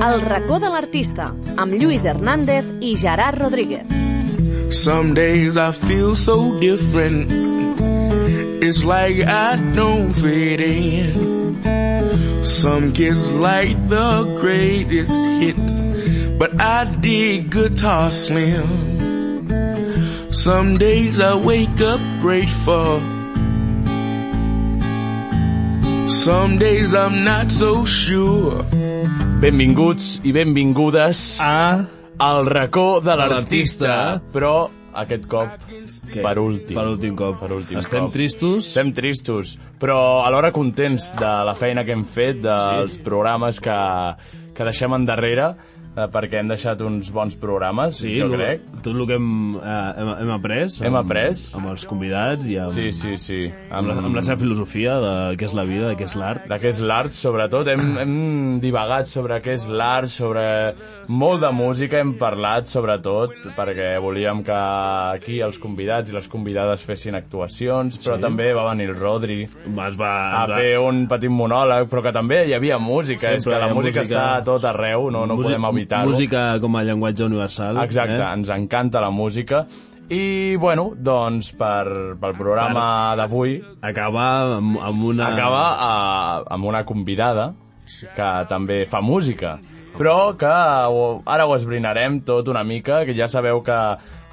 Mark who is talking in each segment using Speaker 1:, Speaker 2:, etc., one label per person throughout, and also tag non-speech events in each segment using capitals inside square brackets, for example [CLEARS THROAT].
Speaker 1: El racó de l'artista, amb Lluís Hernández i Gerard Rodríguez.
Speaker 2: Some days I feel so different. It's like I don't fit in. Some kids like the greatest hits, but I dig guitar slim. Some days I wake up grateful. Some days I'm not so sure.
Speaker 3: Benvinguts i benvingudes
Speaker 4: Ah,
Speaker 3: al racó de l'artista,
Speaker 4: l'artista.
Speaker 3: però aquest cop
Speaker 4: Què?
Speaker 3: per últim.
Speaker 4: Per últim cop.
Speaker 3: Per últim
Speaker 4: Estem
Speaker 3: cop.
Speaker 4: tristos.
Speaker 3: Estem tristos, però alhora contents de la feina que hem fet, dels sí. programes que, que deixem endarrere, eh, perquè hem deixat uns bons programes, sí, jo
Speaker 4: lo-
Speaker 3: crec.
Speaker 4: Tot el que hem, eh, hem, hem après.
Speaker 3: Hem
Speaker 4: amb-
Speaker 3: après.
Speaker 4: Amb els convidats i amb,
Speaker 3: Sí, sí, sí.
Speaker 4: amb, la, amb la seva filosofia de què és la vida, de què és l'art.
Speaker 3: de què és l'art, sobretot. Hem, hem divagat sobre què és l'art, sobre molt de música hem parlat, sobretot, perquè volíem que aquí els convidats i les convidades fessin actuacions, però també va venir el Rodri
Speaker 4: Ens va...
Speaker 3: a
Speaker 4: ens va-
Speaker 3: fer un petit monòleg, però que també hi havia música.
Speaker 4: Sempre
Speaker 3: és que
Speaker 4: hi
Speaker 3: la
Speaker 4: ha
Speaker 3: música,
Speaker 4: música.
Speaker 3: està a tot arreu, no, no
Speaker 4: músi-
Speaker 3: podem evitar-ho.
Speaker 4: Música com a llenguatge universal.
Speaker 3: Exacte, eh?
Speaker 4: Eh?
Speaker 3: ens encanta la música. I, bueno, doncs, per, pel programa d'avui
Speaker 4: Acaba amb, amb una...
Speaker 3: acaba a, amb una convidada que també fa música però que eh, ho, ara ho esbrinarem tot una mica, que ja sabeu que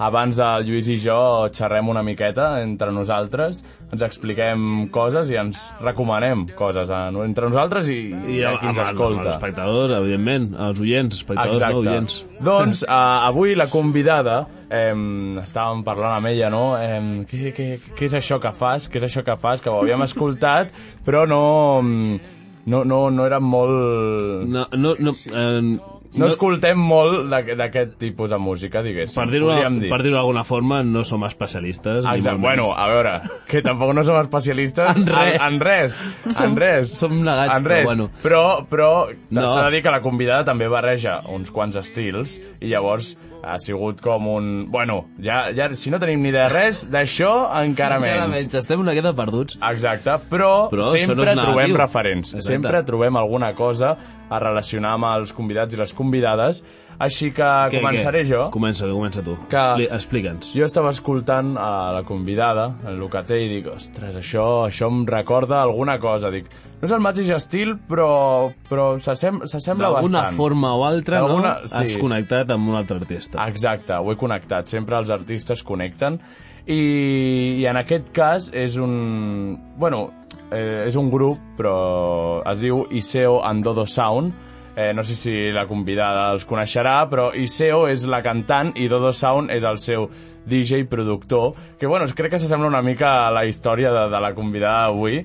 Speaker 3: abans el Lluís i jo xerrem una miqueta entre nosaltres, ens expliquem coses i ens recomanem coses a, entre nosaltres i,
Speaker 4: I
Speaker 3: i a
Speaker 4: amb,
Speaker 3: qui ens
Speaker 4: amb- amb els
Speaker 3: escolta.
Speaker 4: espectadors, evidentment. Els oients, espectadors, no oients.
Speaker 3: [LAUGHS] Doncs uh, avui la convidada, eh, estàvem parlant amb ella, no? Eh, què, què, què és això que fas? Què és això que fas? Que ho havíem
Speaker 4: [LAUGHS]
Speaker 3: escoltat, però no... mm, No, no, no era molt... No,
Speaker 4: No, no, no, eh,
Speaker 3: no escoltem molt d'aqu- d'aquest tipus de música, diguéssim.
Speaker 4: per dir-ho
Speaker 3: podríem dir.
Speaker 4: per dir d'alguna forma, no som especialistes. ni
Speaker 3: Exacte.
Speaker 4: molt menys.
Speaker 3: Bueno, a veure, que tampoc no som especialistes
Speaker 4: En res.
Speaker 3: En, en res. en res.
Speaker 4: som negats,
Speaker 3: en
Speaker 4: però
Speaker 3: res.
Speaker 4: bueno.
Speaker 3: Però, però
Speaker 4: No.
Speaker 3: s'ha de dir que la convidada també barreja uns quants estils i llavors ha sigut com un... Bueno, ja, ja si no tenim ni de res, d'això encara,
Speaker 5: Encara
Speaker 3: menys.
Speaker 5: menys, estem una miqueta perduts.
Speaker 3: Exacte, però,
Speaker 5: Però això no
Speaker 3: sempre
Speaker 5: és negatiu.
Speaker 3: trobem referents,
Speaker 4: Exacte.
Speaker 3: sempre trobem alguna cosa a relacionar amb els convidats i les convidades, així que
Speaker 4: Què,
Speaker 3: començaré
Speaker 4: què?
Speaker 3: jo.
Speaker 4: Comença, comença tu.
Speaker 3: Que-
Speaker 4: Li- Explica'ns.
Speaker 3: Doncs Jo estava escoltant a la convidada, el Locater, i dic, ostres, això, això em recorda alguna cosa. Dic, no és el mateix estil, però, però s'assem- s'assembla
Speaker 4: D'alguna
Speaker 3: bastant.
Speaker 4: forma o altra,
Speaker 3: D'alguna-
Speaker 4: no?
Speaker 3: sí. Ah,
Speaker 4: Has connectat amb un altre artista.
Speaker 3: Exacte, ho he connectat. Sempre els artistes connecten. I, i en aquest cas és un... Bueno, eh, és un grup, però es diu Iseo Andodo Sound. Eh, no sé si la convidada els coneixerà, però Iseo és la cantant i Dodo Sound és el seu DJ productor, que bueno, crec que s'assembla una mica a la història de, de la convidada d'avui.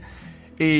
Speaker 3: I,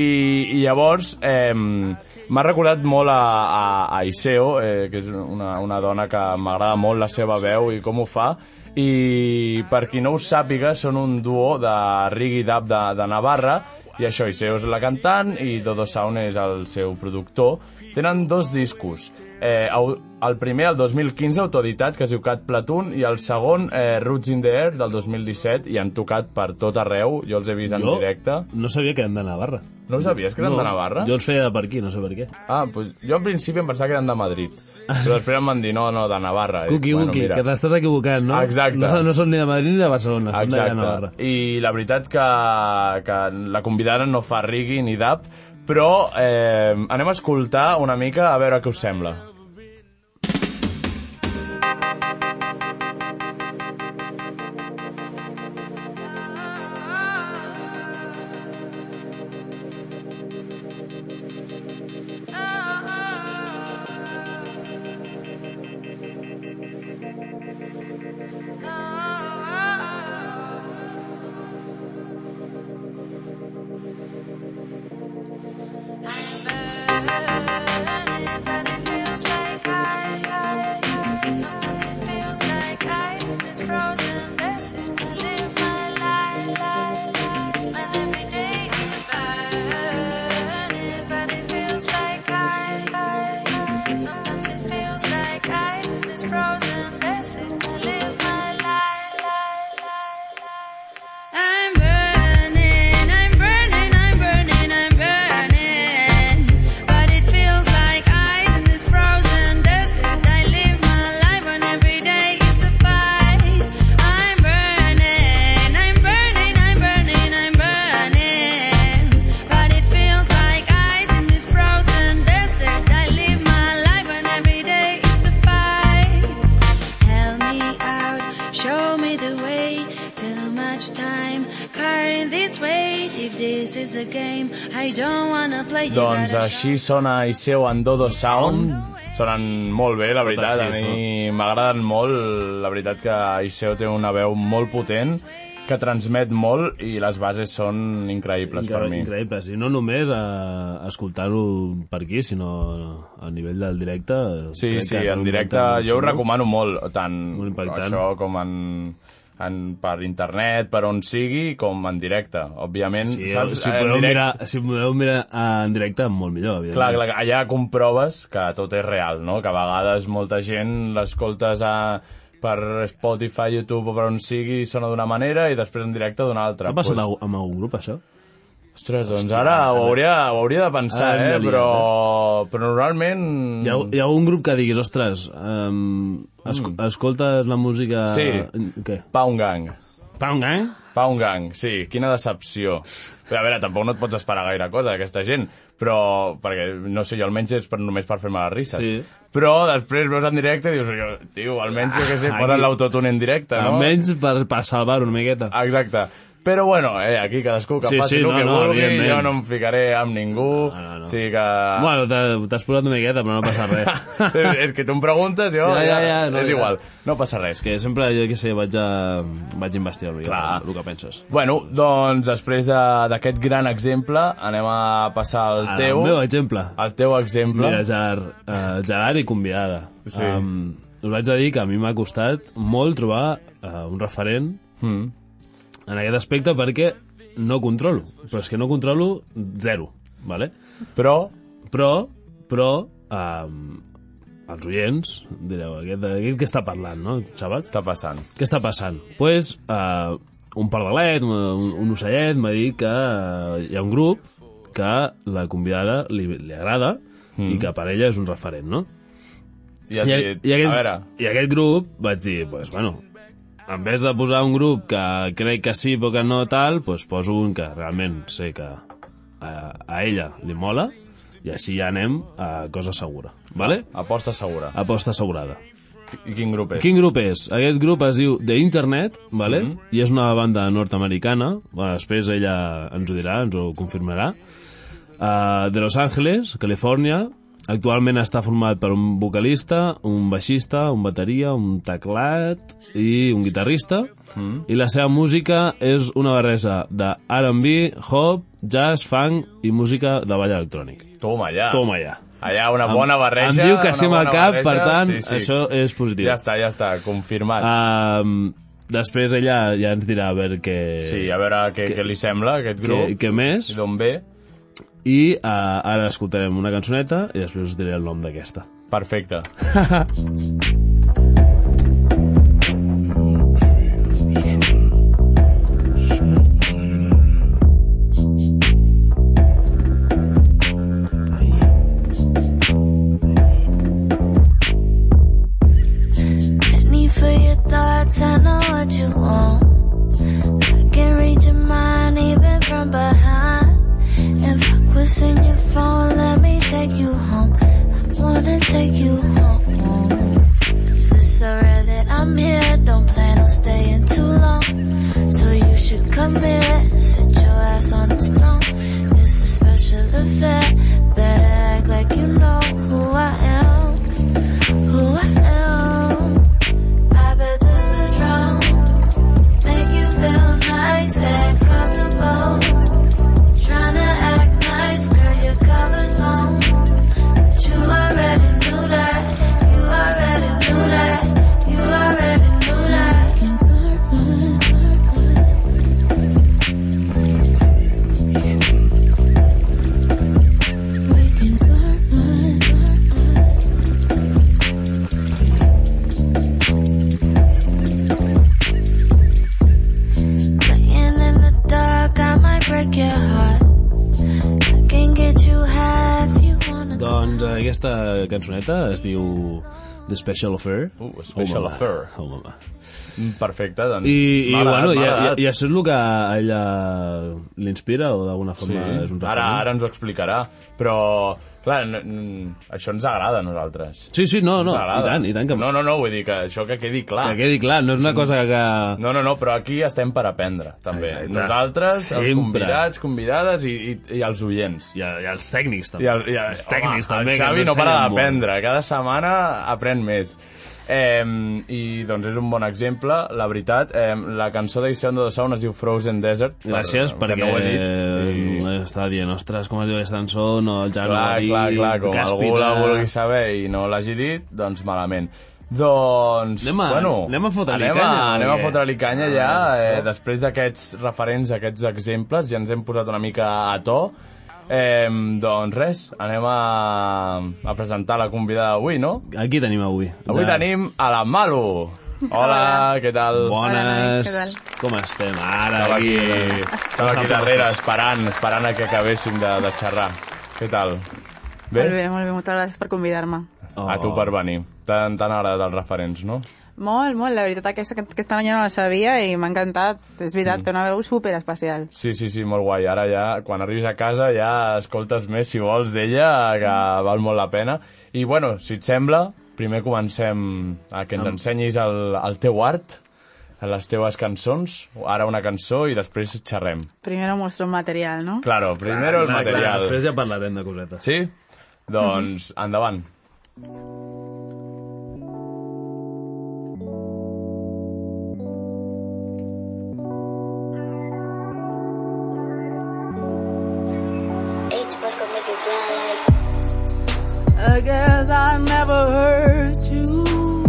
Speaker 3: i llavors eh, m'ha recordat molt a, a, a Iseo, eh, que és una, una dona que m'agrada molt la seva veu i com ho fa, i per qui no ho sàpiga són un duo de Riggy Dab de, de Navarra, i això, Iseo és la cantant i Dodo Sound és el seu productor. Tenen dos discos, eh, au- el primer, el 2015, autoeditat, que es diu Cat Platoon, i el segon, eh, Roots in the Air, del 2017, i han tocat per tot arreu, jo els he vist en
Speaker 4: Jo?
Speaker 3: directe.
Speaker 4: No sabia que eren de Navarra.
Speaker 3: No ho sabies, que eren
Speaker 4: No,
Speaker 3: de Navarra?
Speaker 4: Jo els feia de per aquí, no sé per què.
Speaker 3: Ah, pues jo en principi em pensava que eren de Madrid. Però després em van dir, no, no, de Navarra. I dic,
Speaker 4: Cuqui, bueno,
Speaker 3: mira.
Speaker 4: Ah. que t'estàs equivocant, no?
Speaker 3: Exacte.
Speaker 4: No, no són ni de Madrid ni de Barcelona, són de Navarra.
Speaker 3: Exacte. I la veritat que, que la convidada no fa rigui ni dap, però eh, anem a escoltar una mica a veure què us sembla.
Speaker 6: Frozen, that's when I live my life, life, life, life. I'm burning, I'm burning, I'm burning, I'm burning. But it feels like ice in this frozen desert. Show me the way. Too much time carrying this weight. If this is a game, I don't wanna play. You
Speaker 3: Doncs
Speaker 6: gotta
Speaker 3: així sona Iseo and Dodo Sound. Sonen molt bé, la veritat. A mi m'agraden molt. La veritat que Iseo té una veu molt potent que transmet molt i les bases són increïbles per mi.
Speaker 4: Increïbles, i no només a, a escoltar-ho per aquí, sinó a nivell del directe.
Speaker 3: Sí,
Speaker 4: crec
Speaker 3: sí,
Speaker 4: que té
Speaker 3: en
Speaker 4: un
Speaker 3: directe
Speaker 4: impacte
Speaker 3: jo ho
Speaker 4: xulo.
Speaker 3: recomano molt, tant
Speaker 4: Molt impactant.
Speaker 3: això com en, en, per internet, per on sigui, com en directe. Òbviament,
Speaker 4: Sí,
Speaker 3: saps?
Speaker 4: si,
Speaker 3: En
Speaker 4: podeu
Speaker 3: directe-
Speaker 4: mirar, si podeu mirar eh, en directe, molt millor,
Speaker 3: Clar,
Speaker 4: evidentment.
Speaker 3: clar, allà comproves que tot és real, no? Que a vegades molta gent l'escoltes a per Spotify, YouTube o per on sigui i sona d'una manera i després en directe d'una altra.
Speaker 4: T'ha passat pues... amb algun grup, això?
Speaker 3: Ostres, doncs ara ho hauria, ho hauria de pensar,
Speaker 4: Ara hem
Speaker 3: eh?
Speaker 4: de eh? liar,
Speaker 3: Però, però normalment...
Speaker 4: Hi ha, hi ha algun grup que diguis, ostres, um, es, escoltes la música...
Speaker 3: Mm. Sí.
Speaker 4: Què? eh?
Speaker 3: Pound Gang.
Speaker 4: Pound Gang?
Speaker 3: Pound Gang, sí, quina decepció. Però, a veure, tampoc no et pots esperar gaire cosa d'aquesta gent, però, perquè, no sé, jo almenys és per, només per fer-me les risses.
Speaker 4: Sí.
Speaker 3: Però després veus en directe i dius, tio, almenys jo què sé,
Speaker 4: Ah,
Speaker 3: posen
Speaker 4: aquí.
Speaker 3: l'autotune en directe, no?
Speaker 4: Almenys per, per salvar-ho una miqueta.
Speaker 3: Exacte. Però bueno, eh, aquí cadascú que
Speaker 4: Sí,
Speaker 3: passi
Speaker 4: sí,
Speaker 3: el
Speaker 4: no,
Speaker 3: que
Speaker 4: no,
Speaker 3: vulgui,
Speaker 4: evidentment.
Speaker 3: jo no em ficaré amb ningú,
Speaker 4: No, no, no.
Speaker 3: sí que...
Speaker 4: Bueno, t'ha- t'has posat una miqueta, però no passa
Speaker 3: [LAUGHS]
Speaker 4: res.
Speaker 3: és, és que tu em preguntes, jo...
Speaker 4: Ja, ja, ja, no,
Speaker 3: és
Speaker 4: ja.
Speaker 3: igual, no passa res.
Speaker 4: és que sempre, jo què sé, vaig a, vaig a investigar el,
Speaker 3: Clar.
Speaker 4: el que penses.
Speaker 3: Bueno, doncs després de- d'aquest gran exemple anem a passar al
Speaker 4: Ara,
Speaker 3: teu,
Speaker 4: El meu exemple.
Speaker 3: al teu exemple.
Speaker 4: Mira, Gerard, uh, Gerard i convidada.
Speaker 3: Sí.
Speaker 4: Um, us vaig a dir que a mi m'ha costat molt trobar uh, un referent
Speaker 3: Mm.
Speaker 4: en aquest aspecte perquè no controlo. Però és que no controlo zero, vale?
Speaker 3: Però,
Speaker 4: Però, però, um, els oients direu, aquest, aquest què està parlant, no, xaval?
Speaker 3: està passant.
Speaker 4: Què està passant? Doncs pues, uh, un pardalet, un, un ocellet, m'ha dit que uh, hi ha un grup que la convidada li, li agrada mm. i que per ella és un referent, no?
Speaker 3: I has
Speaker 4: I, a-
Speaker 3: dit,
Speaker 4: i,
Speaker 3: a
Speaker 4: aquest,
Speaker 3: veure,
Speaker 4: I aquest grup vaig dir, pues, bueno, en vez de posar un grup que crec que sí però que no tal, pues, poso un que realment sé que a, a ella li mola i així ja anem a cosa segura, vale?
Speaker 3: aposta segura.
Speaker 4: Aposta assegurada.
Speaker 3: I quin grup és?
Speaker 4: Quin grup és? Aquest grup es diu The Internet, vale?
Speaker 3: Mhm.
Speaker 4: i és una banda nord-americana, bueno, després ella ens ho dirà, ens ho confirmarà, uh, de Los Angeles, Califòrnia, actualment està format per un vocalista, un baixista, un bateria, un teclat i un guitarrista,
Speaker 3: Mhm.
Speaker 4: i la seva música és una barreja de R&B, hop, jazz, funk i música de ball electrònic.
Speaker 3: Toma, allà.
Speaker 4: Toma ja.
Speaker 3: Allà una bona Ah. barreja.
Speaker 4: Em diu que
Speaker 3: una
Speaker 4: sí amb el
Speaker 3: bona
Speaker 4: cap,
Speaker 3: barreja,
Speaker 4: per tant,
Speaker 3: sí, sí.
Speaker 4: això és positiu.
Speaker 3: Ja està, ja està, confirmat.
Speaker 4: Um, després ella ja ens dirà a veure què,
Speaker 3: Sí, a veure què, què li sembla aquest grup,
Speaker 4: què, què més
Speaker 3: i d'on ve.
Speaker 4: i uh, ara escoltarem una cançoneta i després us diré el nom d'aquesta.
Speaker 3: Perfecte.
Speaker 6: Need for your thoughts, I know what you want. I can read your mind even from behind. And fuck what's in your phone, let me take you home. I wanna take you home. Cause it's so rare that I'm here, don't plan on staying too long. So you should come here, sit your ass on this throne. It's a special affair, better act like you know who I am. Who I am. I bet this Patron make you feel nice and comfortable. Tryna act nice, girl, your cover's long. But you already knew that. You already knew that. You already knew that. Playing in the dark, I might break your heart. I can get you high if you wanna.
Speaker 4: Doncs eh, aquesta cançoneta es diu The Special Affair.
Speaker 3: Uh, Special
Speaker 4: mama.
Speaker 3: Affair.
Speaker 4: Oh, mama.
Speaker 3: Perfecte, doncs.
Speaker 4: I, i
Speaker 3: m'ha agradat,
Speaker 4: bueno,
Speaker 3: m'ha
Speaker 4: i,
Speaker 3: agradat.
Speaker 4: i, i això és el que a ella l'inspira o d'alguna forma Eh, és un
Speaker 3: Ara,
Speaker 4: referent?
Speaker 3: ara ens ho explicarà, però Clar, no, mm, això ens agrada a nosaltres.
Speaker 4: Sí, sí, no, no,
Speaker 3: Ens
Speaker 4: i
Speaker 3: agrada.
Speaker 4: tant, i tant que...
Speaker 3: No, no, no, vull dir que això que quedi clar.
Speaker 4: Que quedi clar, no és una cosa que...
Speaker 3: No, no, no, però aquí estem per aprendre, també.
Speaker 4: Exacte.
Speaker 3: Nosaltres, els
Speaker 4: Sempre.
Speaker 3: convidats, convidades i, i, i els oients.
Speaker 4: I, I els tècnics,
Speaker 3: I,
Speaker 4: també.
Speaker 3: el, i el,
Speaker 4: els tècnics,
Speaker 3: home,
Speaker 4: també.
Speaker 3: El
Speaker 4: que
Speaker 3: Xavi
Speaker 4: ens
Speaker 3: no para
Speaker 4: ensenyen molt.
Speaker 3: d'aprendre. Cada setmana aprèn més. Eh, I doncs és un bon exemple, la veritat. Eh, la cançó d'Iseando de Sound es diu Frozen Desert. per-
Speaker 4: Gràcies,
Speaker 3: que
Speaker 4: perquè
Speaker 3: No ho he
Speaker 4: eh,
Speaker 3: dit. I...
Speaker 4: estava dient, ostres, com es diu aquesta cançó, no, el Jaro
Speaker 3: Clar,
Speaker 4: va dir...
Speaker 3: clar, clar, com
Speaker 4: Càspita.
Speaker 3: algú la vulgui saber i no l'hagi dit, doncs malament. Doncs,
Speaker 4: Anem a-
Speaker 3: bueno,
Speaker 4: anem a fotre-li
Speaker 3: anem
Speaker 4: canya, Ah, o
Speaker 3: A, anem a
Speaker 4: què?
Speaker 3: fotre-li canya ja, eh, després d'aquests referents, aquests exemples, ja ens hem posat una mica a to. Eh, doncs res, anem a, a presentar la convidada d'avui, no?
Speaker 4: Aquí tenim avui.
Speaker 3: Avui
Speaker 4: Ja.
Speaker 3: tenim a la Malu. Hola, Hola. què tal?
Speaker 4: Bones.
Speaker 5: nois, què tal?
Speaker 4: Com estem ara?
Speaker 3: Estava aquí,
Speaker 4: aquí.
Speaker 3: estava aquí darrere, esperant, esperant a que acabéssim de, de xerrar. Què tal? Bé?
Speaker 5: Molt bé, molt bé, moltes gràcies per convidar-me.
Speaker 4: Oh.
Speaker 3: A tu per venir. T'han t'han agradat els referents, no?
Speaker 5: Molt, molt, la veritat, aquesta, aquesta nanya no la sabia i m'ha encantat. És veritat, té una veu super especial.
Speaker 3: Sí, sí, sí, molt guai. Ara ja, quan arribis a casa, ja escoltes més, si vols, d'ella, que
Speaker 4: Mm.
Speaker 3: val molt la pena. I, bueno, si et sembla, primer comencem a que ens ensenyis el, el teu art, les teves cançons, ara una cançó i després xerrem.
Speaker 5: Primero muestro un material, no?
Speaker 3: Claro, primero el
Speaker 4: Clar, clar,
Speaker 3: material.
Speaker 4: Després Mhm. ja parlarem de cosetes.
Speaker 3: Sí? Doncs, endavant.
Speaker 7: H bus gon' make you fly like
Speaker 5: I guess I never hurt you.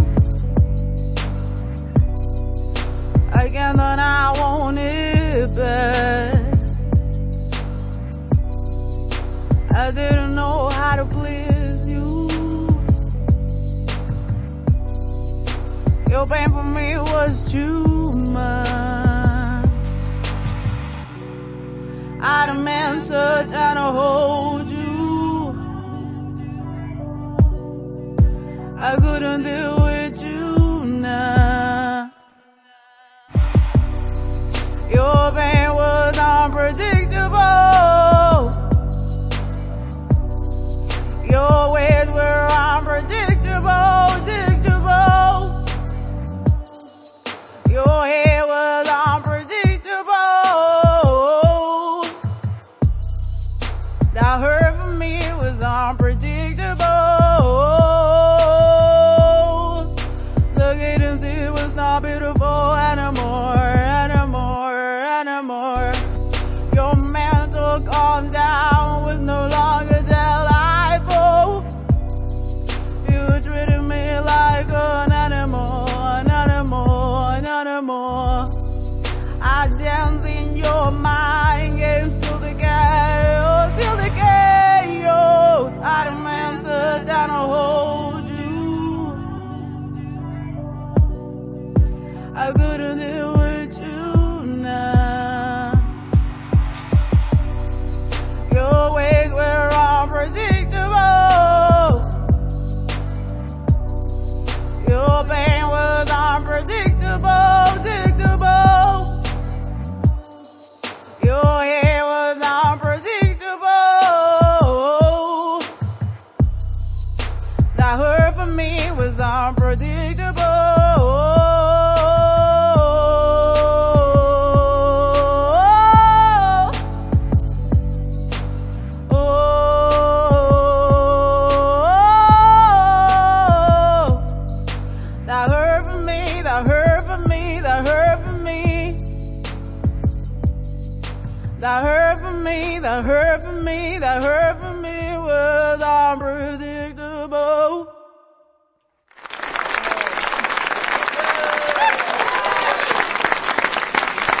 Speaker 5: I guess that I want it back. I didn't know how to please you. Your pain for me was too much. I demand such and I hold you. I couldn't deal with you now. Your pain was unpredictable. Your ways were unpredictable, predictable. Your head was unpredictable. That hurt for me was unpredictable. Look at him, see it was not beautiful anymore, anymore, anymore. Your mantle calmed down was no longer delightful. You treated me like an animal, an animal, an animal. I dance in your mind games to the chaos, to the chaos. I demand such and I hold you. I couldn't deal with you now. Your ways were unpredictable. Your pain was unpredictable, predictable. Your hair was unpredictable. That hurt for me was Oh. unpredictable. Oh, that hurt for me, that hurt for me, that hurt for me. That hurt for me, that hurt for me, that hurt for me was unpredictable.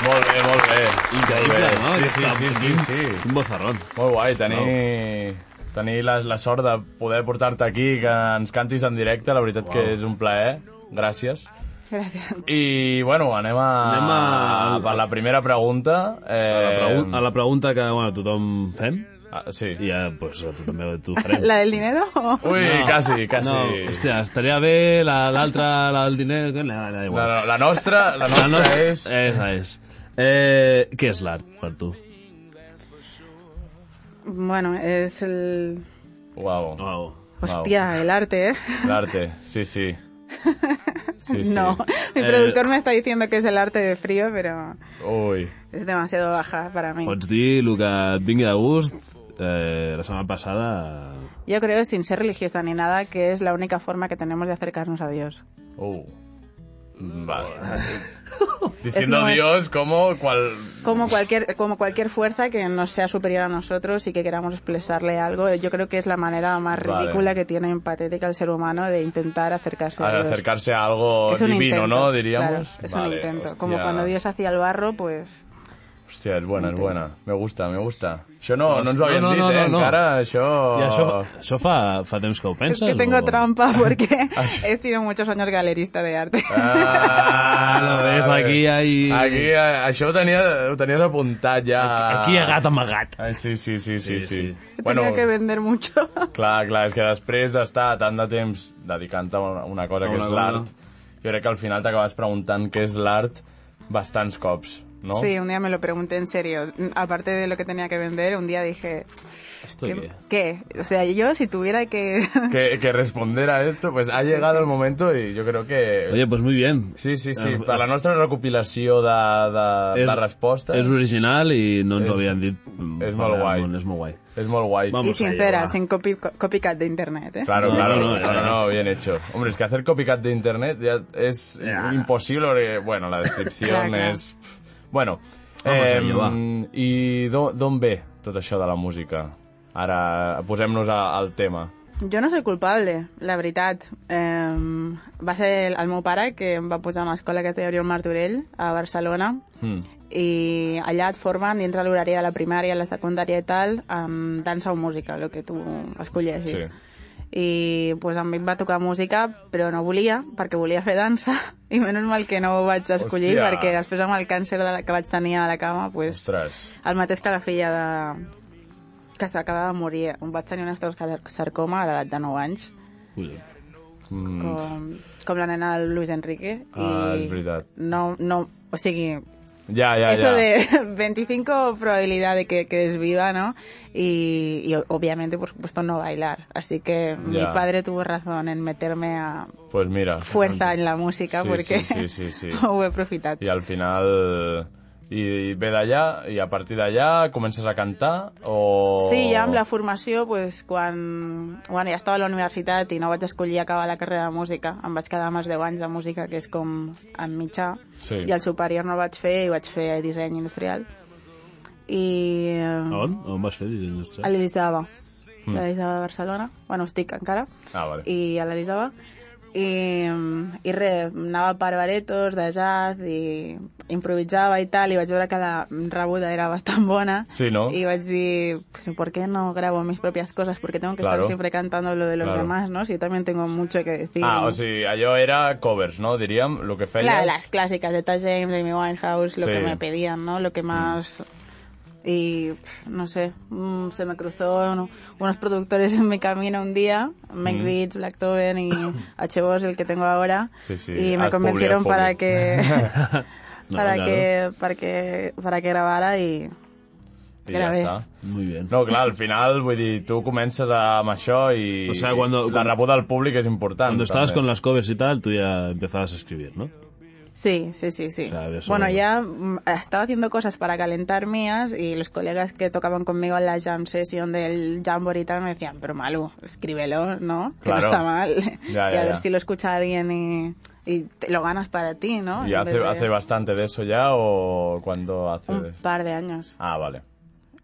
Speaker 3: Molt bé, molt bé. Molt
Speaker 4: Increïble,
Speaker 3: bé.
Speaker 4: no?
Speaker 3: Sí, sí,
Speaker 4: Aquesta-
Speaker 3: sí, sí, sí.
Speaker 4: Quin bozarrón.
Speaker 3: Molt guai, tenir, tenir la, la sort de poder portar-te aquí, que ens cantis en directe, la veritat que és un plaer. Gràcies.
Speaker 5: Gràcies.
Speaker 3: I, bueno, anem a...
Speaker 4: Anem a-
Speaker 3: Per la primera pregunta. Eh,
Speaker 4: A la, pregun- a la pregunta que, bueno, tothom fem,
Speaker 3: Ah, sí.
Speaker 4: i ja, pues, a tu també t'ho farem.
Speaker 5: La del dinero?
Speaker 3: Ui, no. quasi, quasi.
Speaker 4: No, hòstia, estaria bé la- l'altra, la, del diner... que- No, no,
Speaker 3: La,
Speaker 4: igual.
Speaker 3: la, la nostra, la nostra, la nostra és... Eh,
Speaker 4: Esa és. Eh, què és l'art per tu?
Speaker 5: Bueno, es el
Speaker 3: Wow.
Speaker 4: Wow.
Speaker 5: Hostia, el arte, ¿eh?
Speaker 3: El arte, sí, sí. Sí, sí.
Speaker 5: No, mi
Speaker 4: Eh,
Speaker 5: productor me está diciendo que es el arte de frío, pero
Speaker 3: Ui.
Speaker 5: es demasiado baja para mí.
Speaker 3: Pues
Speaker 4: Pots dir el que et vingui de gust. Eh, la setmana passada...
Speaker 5: Yo creo, sin ser religiosa ni nada, que es la única forma que tenemos de acercarnos a Dios.
Speaker 3: Uh.
Speaker 5: [LAUGHS]
Speaker 3: Vale. Diciendo
Speaker 5: Es nuestro.
Speaker 3: Dios como cual...
Speaker 5: Como cualquier, como cualquier fuerza que nos sea superior a nosotros y que queramos expresarle algo, yo creo que es la manera más
Speaker 3: Vale.
Speaker 5: ridícula que tiene empatética el ser humano de intentar acercarse a,
Speaker 3: Al
Speaker 5: Dios.
Speaker 3: acercarse a algo
Speaker 5: es un
Speaker 3: divino,
Speaker 5: intento,
Speaker 3: ¿no?
Speaker 5: claro,
Speaker 3: Diríamos.
Speaker 5: es un
Speaker 3: Vale,
Speaker 5: intento.
Speaker 3: hostia.
Speaker 5: Como cuando Dios hacía el barro, pues
Speaker 3: Hòstia, és bona, és bona. Me gusta, me gusta. Això no, no ens ho
Speaker 4: No,
Speaker 3: havien
Speaker 4: no,
Speaker 3: dit,
Speaker 4: no,
Speaker 3: eh?
Speaker 4: no, no.
Speaker 3: Encara, això...
Speaker 4: Oh. I això, això fa, fa temps que ho
Speaker 5: es
Speaker 4: penses?
Speaker 5: que tengo
Speaker 4: o...
Speaker 3: [LAUGHS]
Speaker 5: trampa porque he sido muchos años galerista de arte.
Speaker 4: [LAUGHS]
Speaker 3: Ah,
Speaker 4: Ah, ves, aquí hi ha...
Speaker 3: Aquí, eh, això ho, tenia, ho tenies apuntat ja.
Speaker 4: Aquí hi ha gat amagat.
Speaker 3: Ah, sí, sí, sí, sí, sí.
Speaker 4: Sí,
Speaker 3: sí.
Speaker 4: sí.
Speaker 5: [LAUGHS] Tenía que vender mucho.
Speaker 3: Clar, clar, és que després d'estar tant de temps dedicant-te a una- una cosa
Speaker 4: A
Speaker 3: que
Speaker 4: una
Speaker 3: és
Speaker 4: cosa.
Speaker 3: l'art, jo crec que al final t'acabes preguntant què és l'art bastants cops, no?
Speaker 5: Sí, un día me lo pregunté en serio. Aparte de lo que tenía que vender, un día dije,
Speaker 3: Ah.
Speaker 4: Estoy bien.
Speaker 5: ¿qué? O sea, yo si tuviera que...
Speaker 3: Que, que responder a esto, pues ha llegado el momento y yo creo que...
Speaker 4: Oye, pues muy bien.
Speaker 3: Sí, sí, sí,
Speaker 4: Eh,
Speaker 3: per la nostra recopilació de, de, de respostes
Speaker 4: És original i no ens
Speaker 3: És-
Speaker 4: ho havien dit.
Speaker 3: és molt guai.
Speaker 4: És molt guai.
Speaker 3: és molt guai.
Speaker 4: Vamos.
Speaker 5: y
Speaker 4: allá,
Speaker 5: sincera,
Speaker 4: va.
Speaker 5: sin copy- copycat de internet, ¿eh?
Speaker 3: Claro,
Speaker 4: No,
Speaker 3: claro, no,
Speaker 4: no,
Speaker 3: no,
Speaker 4: no,
Speaker 3: bien hecho. Hombre, es que hacer copycat de internet ya es imposible, porque, bueno, la descripción
Speaker 5: Clar, clar.
Speaker 3: és... Bueno,
Speaker 4: Vamos
Speaker 3: eh,
Speaker 4: allá, va.
Speaker 3: i d'on d'on ve tot això de la música? Ara posem-nos a- al tema.
Speaker 5: Jo no soy culpable, la veritat. Eh, va ser el, el meu pare que em va posar a una escola que es deia Oriol Martorell, a Barcelona,
Speaker 3: Mm.
Speaker 5: i allà et formen dintre de l'horari de la primària, la secundària i tal, amb dansa o música, el que tu escolleixis.
Speaker 3: Sí.
Speaker 5: I pues, a mi em va tocar música, però no volia, perquè volia fer dansa, [LAUGHS] i menys mal que no ho vaig escollir,
Speaker 3: Hòstia.
Speaker 5: perquè després amb el càncer de la, que vaig tenir a la cama, pues,
Speaker 3: Ostres,
Speaker 5: el mateix que la filla de... que s'acaba de morir, em vaig tenir un estelosarcoma a l'edat de 9 anys,
Speaker 4: Collons.
Speaker 5: com, com la nena del Luis Enrique.
Speaker 3: Mm. Ah,
Speaker 5: i
Speaker 3: és veritat.
Speaker 5: No, no, o sigui,
Speaker 3: ja, ja,
Speaker 5: eso
Speaker 3: ja.
Speaker 5: de [LAUGHS] 25 probabilidad de que quedes viva, ¿no? Y, y o- obviamente, por supuesto, no bailar. Así que mi
Speaker 3: Ya.
Speaker 5: padre tuvo razón en meterme a
Speaker 3: Pues mira.
Speaker 5: fuerza en la música
Speaker 3: Sí,
Speaker 5: porque
Speaker 3: sí, sí,
Speaker 5: [LAUGHS]
Speaker 3: sí, sí.
Speaker 5: ho he aprofitat.
Speaker 3: I al final... I, i ve d'allà, i a partir d'allà comences a cantar, o...
Speaker 5: Sí, ja amb la formació, pues, quan bueno, ja estava a la universitat i no vaig escollir acabar la carrera de música, em vaig quedar amb els 10 anys de música, que és com en mitjà,
Speaker 3: Sí.
Speaker 5: i el superior no el vaig fer i vaig fer disseny industrial. I... eh,
Speaker 3: Ah,
Speaker 4: A on? A on vas fer disseny
Speaker 5: A
Speaker 4: industrial?
Speaker 5: l'Elisava. Mm. A l'Elisava de Barcelona. Bueno, estic encara.
Speaker 3: Ah, vale.
Speaker 5: I a l'Elisava. I, I res, anava per baretos de jazz i improvisava i tal, i vaig veure que la rebuda era bastant bona.
Speaker 3: Sí, no?
Speaker 5: I vaig dir, però ¿por qué no grabo mis propias cosas? Porque tengo que
Speaker 3: Claro.
Speaker 5: estar siempre cantando lo de los
Speaker 3: Claro.
Speaker 5: demás, ¿no? Si yo también tengo mucho que decir.
Speaker 3: Ah,
Speaker 5: ¿no?
Speaker 3: o sigui, allò era covers, no? Diríem, el que feies...
Speaker 5: Claro, las clásicas de Taj James, Amy Winehouse, lo
Speaker 3: Sí. Mm.
Speaker 5: que me pedían, ¿no? Lo que más... Y pf, no sé, mm, se me cruzó uno- unos productores en mi camino un día,
Speaker 3: Mm.
Speaker 5: Make Beats, Black
Speaker 3: [LAUGHS]
Speaker 5: Toven y H-Boss, el que tengo ahora,
Speaker 3: Sí, sí,
Speaker 5: y me
Speaker 3: haz
Speaker 5: convencieron
Speaker 3: publi, haz
Speaker 5: para
Speaker 3: publi. [LAUGHS]
Speaker 5: que, [LAUGHS]
Speaker 4: No,
Speaker 5: para,
Speaker 4: claro.
Speaker 5: que, para, que, para que grabara y...
Speaker 3: I ja
Speaker 5: grabé.
Speaker 3: està.
Speaker 4: Muy bien.
Speaker 3: No, clar, al final, vull dir, tu comences amb això i
Speaker 4: O sea, cuando-
Speaker 3: la rebuda al públic és important.
Speaker 4: Cuando estabas
Speaker 3: també.
Speaker 4: con las covers y tal, tú ya empezabas a escribir, ¿no?
Speaker 5: Sí, sí, sí, sí.
Speaker 4: O sea, había
Speaker 5: bueno,
Speaker 4: solo-
Speaker 5: ya mm, estaba haciendo cosas para calentar mías y los colegas que tocaban conmigo en la jam session del Jamboree y tal me decían, pero Malu, escríbelo, ¿no? Que no
Speaker 3: Claro.
Speaker 5: está mal. [LAUGHS] y
Speaker 3: Ya,
Speaker 5: a
Speaker 3: ya,
Speaker 5: ver
Speaker 3: ya.
Speaker 5: si lo escucha alguien y, y te lo ganas para ti, ¿no?
Speaker 3: ¿Y
Speaker 5: En
Speaker 3: hace,
Speaker 5: vez de-
Speaker 3: hace bastante de eso ya o cuando hace...?
Speaker 5: un par de años.
Speaker 3: Ah, vale.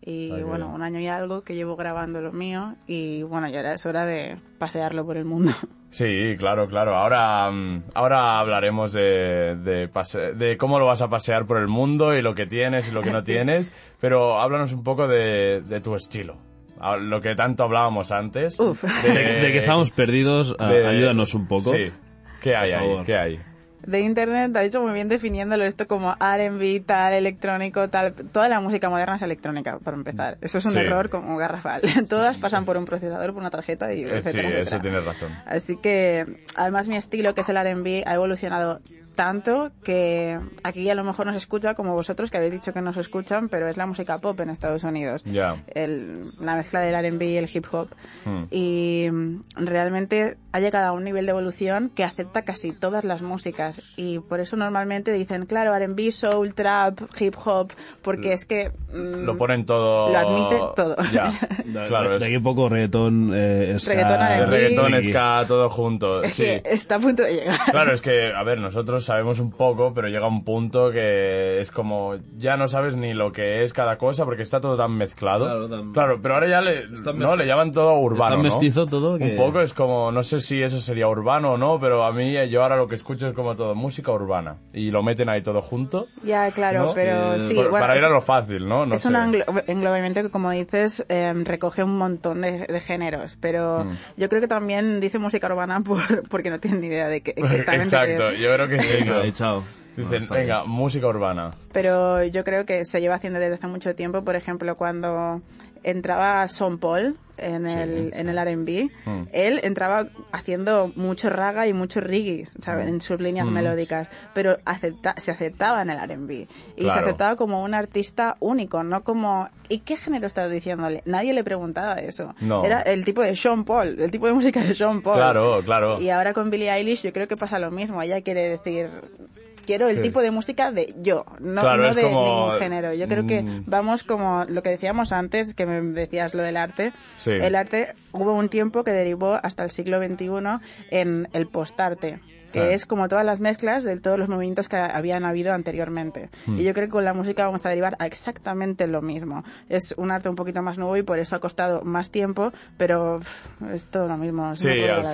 Speaker 5: Y
Speaker 3: Ah, qué
Speaker 5: bueno,
Speaker 3: bien.
Speaker 5: un año y algo que llevo grabando lo mío y bueno, ya era- es hora de pasearlo por el mundo.
Speaker 3: Sí, claro, claro. Ahora, mm, ahora hablaremos de, de, pase- de cómo lo vas a pasear por el mundo y lo que tienes y lo
Speaker 5: [LAUGHS]
Speaker 3: que no tienes, pero háblanos un poco de, de tu estilo. A- Lo que tanto hablábamos antes.
Speaker 5: Uf.
Speaker 4: De, de que estábamos perdidos, a-
Speaker 3: Eh, de-
Speaker 4: ayúdanos un poco.
Speaker 3: Sí. ¿Qué hay
Speaker 4: Por
Speaker 3: ahí?
Speaker 4: favor.
Speaker 3: ¿Qué
Speaker 5: Eh,
Speaker 3: hay?
Speaker 5: de internet ha dicho muy bien definiéndolo esto como R&B, tal, electrónico, tal. Toda la música moderna es electrónica, para empezar. Eso es un
Speaker 3: Mm. Sí.
Speaker 5: error como garrafal. [LAUGHS] Todas pasan por un procesador, por una tarjeta y
Speaker 3: Eh,
Speaker 5: etcétera,
Speaker 3: sí,
Speaker 5: etcétera.
Speaker 3: eso tienes razón.
Speaker 5: Así que, además mi estilo, que es el R&B, ha evolucionado tanto que aquí a lo mejor nos escucha como vosotros que habéis dicho que nos escuchan, pero es la música pop en Estados Unidos.
Speaker 3: Ya.
Speaker 5: El- la mezcla del R&B y el hip hop.
Speaker 3: Hmm.
Speaker 5: Y mm, realmente ha llegado a un nivel de evolución que acepta casi todas las músicas. Y por eso normalmente dicen, claro, R&B, soul, trap, hip hop, porque es que... mm,
Speaker 3: Lo ponen todo...
Speaker 5: Lo admite todo.
Speaker 3: Ya,
Speaker 4: [LAUGHS] De,
Speaker 3: claro.
Speaker 4: de-
Speaker 3: es-
Speaker 4: de aquí a poco reggaetón, eh, ska,
Speaker 5: Reggaetón,
Speaker 3: de
Speaker 5: R&B.
Speaker 3: reggaetón, ska, todo junto.
Speaker 5: Es
Speaker 3: sí.
Speaker 5: que está a punto de llegar.
Speaker 3: Claro, es que, a ver, nosotros sabemos un poco, pero llega un punto que es como, ya no sabes ni lo que es cada cosa porque está todo tan mezclado.
Speaker 4: Claro, tan-
Speaker 3: Claro, pero ahora ya le,
Speaker 4: Está
Speaker 3: no,
Speaker 4: mez-
Speaker 3: le llaman todo urbano.
Speaker 4: está
Speaker 3: ¿no?
Speaker 4: mestizo todo que-
Speaker 3: Un poco es como, no sé si eso sería urbano o no, pero a mí eh, yo ahora lo que escucho es como todo música urbana. Y lo meten ahí todo junto.
Speaker 5: [LAUGHS] Ya, claro,
Speaker 3: ¿no?
Speaker 5: pero
Speaker 4: Eh,
Speaker 5: sí.
Speaker 3: Por-
Speaker 5: bueno,
Speaker 3: para
Speaker 5: es-
Speaker 3: ir a lo fácil, ¿no? No
Speaker 5: es
Speaker 3: sé. [LAUGHS]
Speaker 5: un anglo- englobamiento que, como dices, eh, recoge un montón de, de géneros, pero
Speaker 3: Hmm.
Speaker 5: yo creo que también dice música urbana [LAUGHS] por, porque no tienen ni
Speaker 3: [LAUGHS]
Speaker 5: idea de qué exactamente.
Speaker 3: Exacto, yo creo que sí. ¿no?
Speaker 4: Ahí, chao.
Speaker 3: Dicen, venga, música urbana.
Speaker 5: Pero yo creo que se lleva haciendo desde hace mucho tiempo, por ejemplo, cuando entraba Son Paul en el, en el R&B,
Speaker 3: Mm.
Speaker 5: él entraba haciendo mucho raga y mucho reggae, ¿sabes?
Speaker 3: Mm.
Speaker 5: En sus líneas melódicas, pero acepta, se aceptaba en el R&B y se
Speaker 3: Claro.
Speaker 5: aceptaba como un artista único, no como ¿y qué género estás diciéndole? Nadie le preguntaba eso.
Speaker 3: No.
Speaker 5: Era el tipo de Sean Paul, el tipo de música de Sean Paul.
Speaker 3: Claro, claro.
Speaker 5: Y ahora con Billie Eilish yo creo que pasa lo mismo. Ella quiere decir, quiero el tipo de música de yo, no,
Speaker 3: Claro,
Speaker 5: no
Speaker 3: es
Speaker 5: de
Speaker 3: como-
Speaker 5: ningún género. Yo creo que
Speaker 3: Mm.
Speaker 5: vamos como lo que decíamos antes, que me decías lo del arte.
Speaker 3: Sí.
Speaker 5: El arte hubo un tiempo que derivó hasta el siglo XXI en el postarte que
Speaker 3: Claro.
Speaker 5: es como todas las mezclas de todos los movimientos que habían habido anteriormente.
Speaker 3: Mm.
Speaker 5: Y yo creo que con la música vamos a derivar a exactamente lo mismo. Es un arte un poquito más nuevo y por eso ha costado más tiempo, pero pff, es todo lo mismo. es
Speaker 3: Sí,
Speaker 5: una cosa
Speaker 3: al
Speaker 5: maravillosa.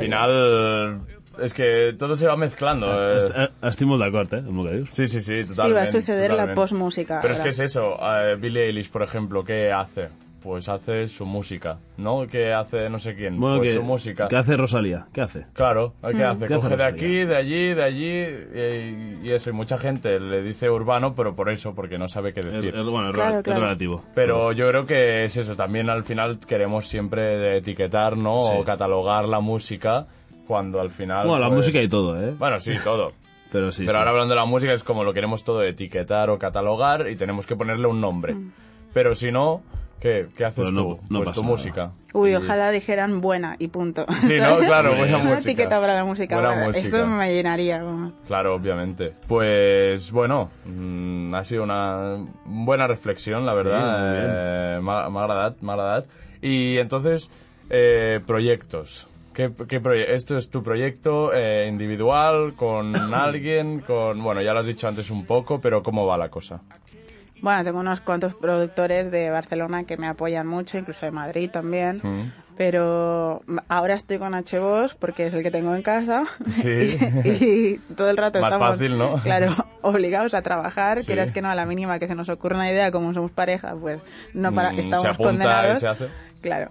Speaker 3: final es que todo se va mezclando.
Speaker 4: Est-
Speaker 3: eh.
Speaker 4: est- eh, Estic molt d'acord, eh, amb el que dius.
Speaker 3: Sí, sí, sí,
Speaker 5: Sí,
Speaker 3: totalmente.
Speaker 5: va a suceder la
Speaker 3: totalmente.
Speaker 5: postmúsica.
Speaker 3: Pero es
Speaker 5: ahora.
Speaker 3: que es eso, eh, Billie Eilish, por ejemplo, ¿qué hace? Pues hace su música, ¿no? ¿Qué hace no sé quién?
Speaker 4: Bueno,
Speaker 3: pues
Speaker 4: que,
Speaker 3: su música.
Speaker 4: ¿Qué hace Rosalía? ¿Qué hace?
Speaker 3: Claro, ¿qué hace?
Speaker 4: ¿Qué hace
Speaker 3: Coge de
Speaker 4: Rosalía?
Speaker 3: aquí, de allí, de allí, eh, y, eso. Y mucha gente le dice urbano, pero por eso, porque no sabe qué
Speaker 4: Es,
Speaker 3: decir.
Speaker 4: es- bueno, es,
Speaker 5: Claro,
Speaker 4: rela- es
Speaker 5: claro.
Speaker 4: relativo.
Speaker 3: Pero yo creo que es eso, también al final queremos siempre de etiquetar, ¿no?
Speaker 4: Sí.
Speaker 3: O catalogar la música cuando al final...
Speaker 4: Bueno, la
Speaker 3: pues-
Speaker 4: música y todo, ¿eh?
Speaker 3: Bueno, sí, todo.
Speaker 4: Pero sí,
Speaker 3: Pero
Speaker 4: sí.
Speaker 3: ahora hablando de la música es como lo queremos todo etiquetar o catalogar y tenemos que ponerle un nombre.
Speaker 5: Mm.
Speaker 3: Pero si no, ¿qué, qué haces
Speaker 4: Pues no-
Speaker 3: tú?
Speaker 4: no
Speaker 3: pues
Speaker 4: pasa
Speaker 3: tu
Speaker 4: nada.
Speaker 3: música.
Speaker 5: Uy,
Speaker 3: Y-
Speaker 5: ojalá dijeran buena y punto.
Speaker 3: Eh, [LAUGHS] Sí, ¿no?
Speaker 5: ¿Sabes?
Speaker 3: Claro, buena
Speaker 5: Una
Speaker 3: música.
Speaker 5: etiqueta para la música.
Speaker 3: Buena
Speaker 5: ahora.
Speaker 3: música.
Speaker 5: Eso me llenaría. vamos.
Speaker 3: Claro, obviamente. Pues bueno, mm, ha sido una buena reflexión, la
Speaker 4: muy bien.
Speaker 3: verdad. Eh, M'ha m'ha agradat, m'ha agradat. Y entonces, eh, proyectos. ¿Qué, qué proye- ¿Esto es tu proyecto eh, individual,
Speaker 4: [COUGHS]
Speaker 3: con alguien, con... Bueno, ya lo has dicho antes un poco, pero ¿cómo va la cosa?
Speaker 5: Bueno, tengo unos cuantos productores de Barcelona que me apoyan mucho, incluso de Madrid también. Pero ahora estoy con HBOS porque es el que tengo en casa.
Speaker 3: Sí.
Speaker 5: [LAUGHS] Y, y todo el rato
Speaker 3: Más
Speaker 5: estamos.
Speaker 3: fácil, ¿no?
Speaker 5: Claro, [LAUGHS] obligados a trabajar.
Speaker 3: Sí.
Speaker 5: Quieras que no, a la mínima que se nos ocurra una idea, como somos pareja, pues no para,
Speaker 3: Mm,
Speaker 5: estamos
Speaker 3: se apunta
Speaker 5: condenados.
Speaker 3: y se hace.
Speaker 5: Claro.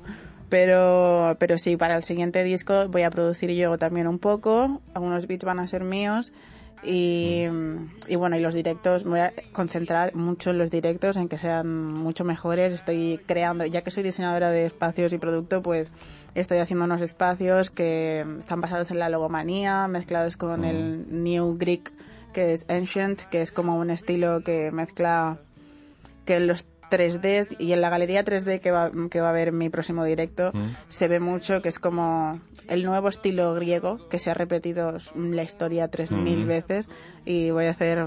Speaker 5: Pero, pero sí, para el siguiente disco voy a producir yo también un poco. Algunos beats van a ser míos. Y, y bueno, y los directos, me voy a concentrar mucho en los directos, en que sean mucho mejores. Estoy creando, ya que soy diseñadora de espacios y producto, pues estoy haciendo unos espacios que están basados en la logomanía, mezclados con el New Greek, que es Ancient, que es como un estilo que mezcla que en los 3D y en la galería 3D que va, que va a haber en mi próximo directo se ve mucho que es como el nuevo estilo griego que se ha repetido s- la historia 3.000 veces y voy a hacer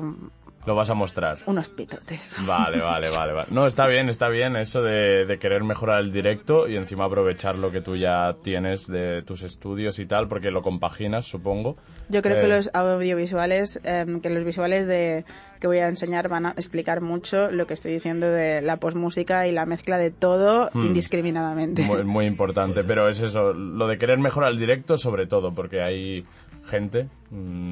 Speaker 3: Lo vas a mostrar.
Speaker 5: unos pitotes.
Speaker 3: Vale, vale, vale, vale. No, está bien, está bien eso de, de querer mejorar el directo y encima aprovechar lo que tú ya tienes de tus estudios y tal, porque lo compaginas, supongo.
Speaker 5: Yo creo que
Speaker 3: Eh,
Speaker 5: los audiovisuales, em, que los visuales de, que voy a enseñar van a explicar mucho lo que estoy diciendo de la posmúsica y la mezcla de todo indiscriminadamente. [LAUGHS]
Speaker 3: Muy, muy importante, pero es eso, lo de querer mejorar el directo sobre todo, porque hay gente,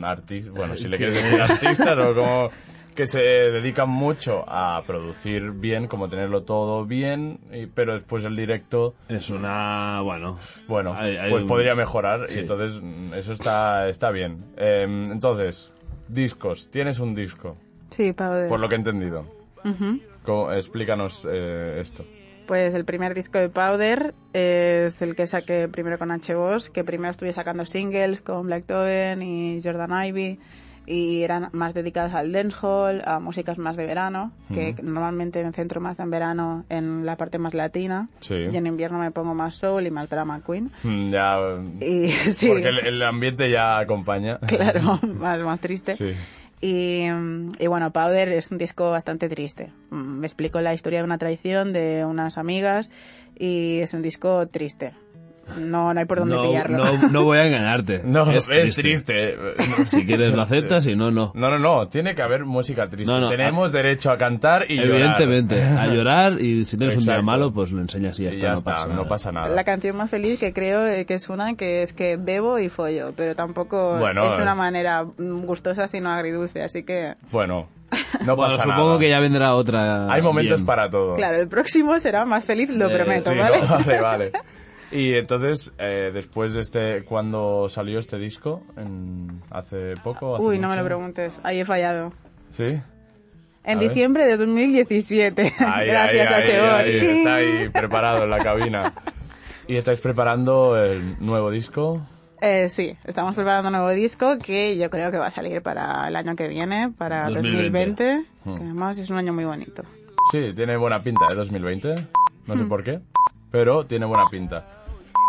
Speaker 3: artista, bueno, si le quieres decir artistas o como que se dedican mucho a producir bien, como tenerlo todo bien, y- pero después el directo
Speaker 4: [LAUGHS] Es una... bueno...
Speaker 3: Bueno,
Speaker 4: Hay- hay
Speaker 3: pues
Speaker 4: un-
Speaker 3: podría mejorar
Speaker 4: Sí.
Speaker 3: y entonces mm, eso está, está bien. Eh, entonces, discos. Tienes un disco,
Speaker 5: Sí, Pau. de-
Speaker 3: por lo que he entendido. Co- Explícanos eh, esto.
Speaker 5: Pues el primer disco de Powder eh, es el que saqué primero con H. Boss, que primero estuve sacando singles con Black Toven y Jordan Ivy. y eran más dedicadas al dancehall, a músicas más de verano, que normalmente me centro más en verano en la parte más latina
Speaker 3: Sí.
Speaker 5: y en invierno me pongo más soul y más drama queen.
Speaker 3: Mm, Ya,
Speaker 5: Y [LAUGHS] sí,
Speaker 3: Porque el, el ambiente ya
Speaker 5: [LAUGHS]
Speaker 3: acompaña.
Speaker 5: claro, más, más triste.
Speaker 3: Sí.
Speaker 5: Y, mm, y bueno, Powder es un disco bastante triste. Mm, Me explico la historia de una traición de unas amigas y es un disco triste. No, no hay por dónde
Speaker 4: No,
Speaker 5: pillarlo.
Speaker 4: no, no voy a engañarte.
Speaker 3: [LAUGHS] No, es, triste.
Speaker 4: Si quieres lo aceptas, si no, no.
Speaker 3: [LAUGHS] No, no, no, tiene que haber música triste.
Speaker 4: No, no,
Speaker 3: Tenemos derecho a cantar y llorar.
Speaker 4: Evidentemente, a
Speaker 3: [LAUGHS]
Speaker 4: llorar y si tienes un día
Speaker 3: Exacto.
Speaker 4: malo, pues lo enseñas y ya
Speaker 3: Y
Speaker 4: está,
Speaker 3: ya
Speaker 4: no
Speaker 3: está,
Speaker 4: pasa nada.
Speaker 3: no pasa nada.
Speaker 5: La canción más feliz que creo eh, que es una que es que bebo y follo, pero tampoco
Speaker 3: Bueno,
Speaker 5: es de
Speaker 3: eh.
Speaker 5: una manera mm, gustosa sino agridulce, así que
Speaker 3: Bueno, no
Speaker 4: Bueno,
Speaker 3: pasa
Speaker 4: supongo
Speaker 3: nada.
Speaker 4: que ya vendrá otra.
Speaker 3: Hay momentos
Speaker 4: bien.
Speaker 3: para todo.
Speaker 5: claro, el próximo será más feliz, lo
Speaker 3: Eh,
Speaker 5: prometo,
Speaker 3: sí,
Speaker 5: ¿vale?
Speaker 3: no, [LAUGHS] vale,
Speaker 5: [LAUGHS]
Speaker 3: vale. Y entonces, eh, después de este, cuando salió este disco, En- hace poco. hace
Speaker 5: Uy, no me
Speaker 3: mucho?
Speaker 5: lo preguntes, ahí he fallado. [LAUGHS]
Speaker 3: Sí.
Speaker 5: En
Speaker 3: A ver.
Speaker 5: diciembre de 2017.
Speaker 3: Ahí,
Speaker 5: Gracias,
Speaker 3: ahí, ahí,
Speaker 5: HBO.
Speaker 3: ahí,
Speaker 5: Cling.
Speaker 3: está ahí preparado en la
Speaker 5: [LAUGHS]
Speaker 3: cabina. Y estáis preparando el nuevo disco.
Speaker 5: Eh, sí, estamos preparando un nuevo disco que yo creo que va a salir para el año que viene, para
Speaker 4: 2020.
Speaker 5: 2020, que además es un año muy bonito.
Speaker 3: Sí, tiene buena pinta ¿eh? de 2020. No sé
Speaker 4: Mm.
Speaker 3: por qué, pero tiene buena pinta.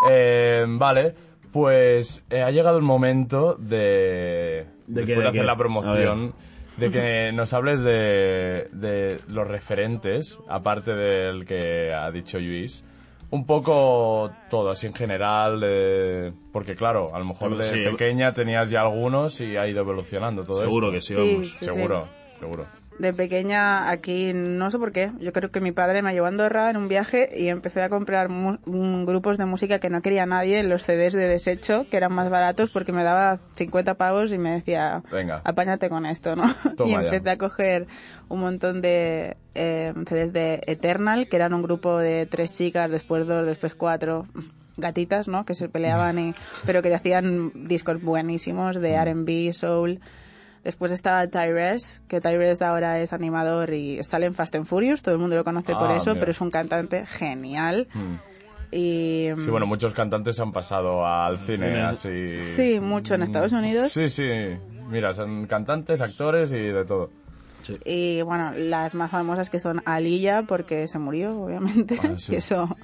Speaker 3: Eh, vale, pues eh, ha llegado el momento de.
Speaker 4: ¿De qué,
Speaker 3: después
Speaker 4: de
Speaker 3: de hacer
Speaker 4: qué?
Speaker 3: la promoción. De que nos hables de, de los referentes, aparte del que ha dicho Luis. Un poco todo, así en general, de- porque claro, a lo mejor de
Speaker 4: Sí.
Speaker 3: pequeña tenías ya algunos y ha ido evolucionando todo
Speaker 4: Seguro que
Speaker 3: esto.
Speaker 4: sí, vamos.
Speaker 5: Sí, sí.
Speaker 3: Seguro, seguro.
Speaker 5: De pequeña aquí, no sé por qué, yo creo que mi padre me llevó a Andorra en un viaje y empecé a comprar mu- mm, grupos de música que no quería nadie, los CDs de desecho, que eran más baratos porque me daba 50 pavos y me decía,
Speaker 3: Venga.
Speaker 5: apáñate con esto, ¿no?
Speaker 3: Toma
Speaker 5: y
Speaker 3: ya.
Speaker 5: empecé a coger un montón de eh, CDs de Eternal, que eran un grupo de tres chicas, después dos, después cuatro gatitas, ¿no? Que se peleaban, y, pero que hacían discos buenísimos de R&B, soul. Después estaba Tyrese, que Tyrese ahora es animador y sale en Fast and Furious, todo el mundo lo conoce por
Speaker 3: Ah,
Speaker 5: eso,
Speaker 3: mira. Mm.
Speaker 5: pero es un cantante genial. Y
Speaker 3: Sí, bueno, muchos cantantes han pasado al cine,
Speaker 4: Cine.
Speaker 3: así. Mm,
Speaker 5: Sí, mucho en Estados Unidos.
Speaker 3: Sí, sí. Mira, son cantantes, actores y de todo.
Speaker 5: Y bueno, las más famosas que son Aliyah, porque se murió, obviamente.
Speaker 3: Ah,
Speaker 5: [LAUGHS]
Speaker 3: sí.
Speaker 5: Y eso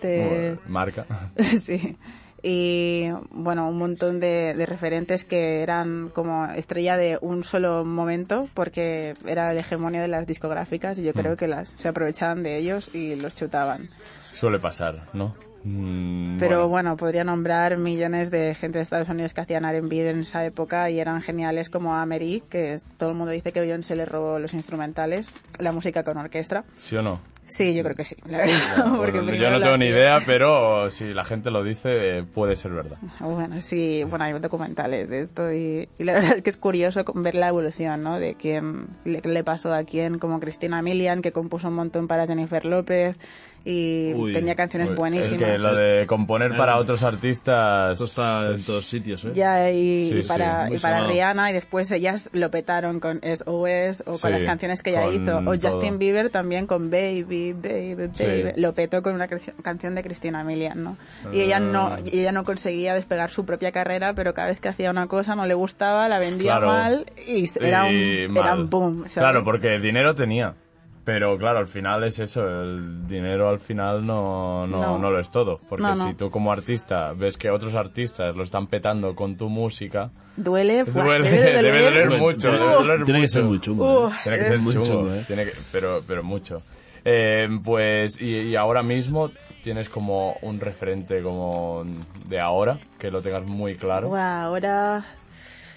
Speaker 5: te...
Speaker 3: Bueno, Marca.
Speaker 5: [LAUGHS] sí. Y bueno, un montón de, de referentes que eran como estrella de un solo momento, porque era el hegemonio de las discográficas
Speaker 3: Mm.
Speaker 5: y yo creo que las se aprovechaban de ellos y los chutaban.
Speaker 3: [LAUGHS] Suele pasar, ¿no? Mm,
Speaker 5: Pero bueno, podría nombrar millones de gente de Estados Unidos que hacían R&B en esa época y eran geniales como Amery, que es- todo el mundo dice que Beyoncé le robó los instrumentales, la música con orquesta.
Speaker 3: ¿Sí o no?
Speaker 5: Sí, yo creo que sí, la verdad. [LAUGHS] porque
Speaker 3: Bueno, pues yo
Speaker 5: primero
Speaker 3: no
Speaker 5: la-
Speaker 3: tengo ni idea, pero si la gente lo dice, eh, puede ser verdad.
Speaker 5: Bueno, sí, bueno, hay documentales de esto y, y la [LAUGHS] verdad es que es curioso con- ver la evolución, ¿no? De quién le, le pasó a quién, como Cristina Milian, que compuso un montón para Jennifer López y
Speaker 4: Uy,
Speaker 5: tenía canciones
Speaker 4: uy, es
Speaker 3: pues, Es
Speaker 5: buenísimas.
Speaker 3: que lo de componer para
Speaker 4: Eh,
Speaker 3: otros artistas.
Speaker 4: Esto está en todos sitios, ¿eh?
Speaker 5: Ya, y,
Speaker 3: Sí,
Speaker 5: y para,
Speaker 4: sí, muy
Speaker 5: y para
Speaker 4: sonado.
Speaker 5: Rihanna, y después ellas lo petaron con SOS o con
Speaker 3: Sí,
Speaker 5: las canciones que ella
Speaker 3: con
Speaker 5: hizo. O
Speaker 3: todo.
Speaker 5: Justin Bieber también con Baby, Baby, Baby.
Speaker 3: Sí.
Speaker 5: Lo petó con una cre- canción de Cristina Milian, ¿no? Y
Speaker 3: Ah.
Speaker 5: ella no, y ella no conseguía despegar su propia carrera, pero cada vez que hacía una cosa no le gustaba, la vendía
Speaker 3: Claro.
Speaker 5: mal y s- era un,
Speaker 3: Y
Speaker 5: era
Speaker 3: Eh, mal.
Speaker 5: un boom. ¿sabes?
Speaker 3: Claro, porque el dinero tenía. Pero claro, al final es eso, el dinero al final no, no,
Speaker 5: No.
Speaker 3: no lo es todo. Porque
Speaker 5: No, no.
Speaker 3: si tú como artista ves que otros artistas lo están petando con tu música,
Speaker 5: Duele, fue-
Speaker 3: Duele,
Speaker 5: debe
Speaker 3: [LAUGHS]
Speaker 5: de
Speaker 3: debe
Speaker 5: doler.
Speaker 3: doler mucho,
Speaker 4: Tiene-
Speaker 3: debe doler
Speaker 4: Tiene que
Speaker 3: mucho.
Speaker 4: ser muy chungo.
Speaker 5: Uh.
Speaker 4: ¿eh?
Speaker 3: tiene que
Speaker 5: Es
Speaker 3: ser
Speaker 4: muy
Speaker 3: chungo,
Speaker 4: chungo, ¿eh?
Speaker 3: tiene que- pero, pero mucho. Eh, pues, y, y ahora mismo tienes como un referente como de ahora, que lo tengas muy claro.
Speaker 5: Guau, ahora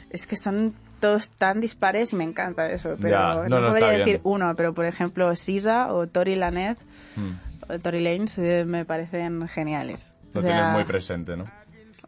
Speaker 5: es que son todos tan dispares y me encanta eso. Pero
Speaker 3: Ya, no,
Speaker 5: no,
Speaker 3: no,
Speaker 5: podría
Speaker 3: está
Speaker 5: decir
Speaker 3: bien.
Speaker 5: uno, pero por ejemplo Sisa o Tori Lanez,
Speaker 3: Hmm.
Speaker 5: o Tori Lanez eh, me parecen geniales.
Speaker 3: Lo
Speaker 5: O sea,
Speaker 3: tienes muy presente, ¿no?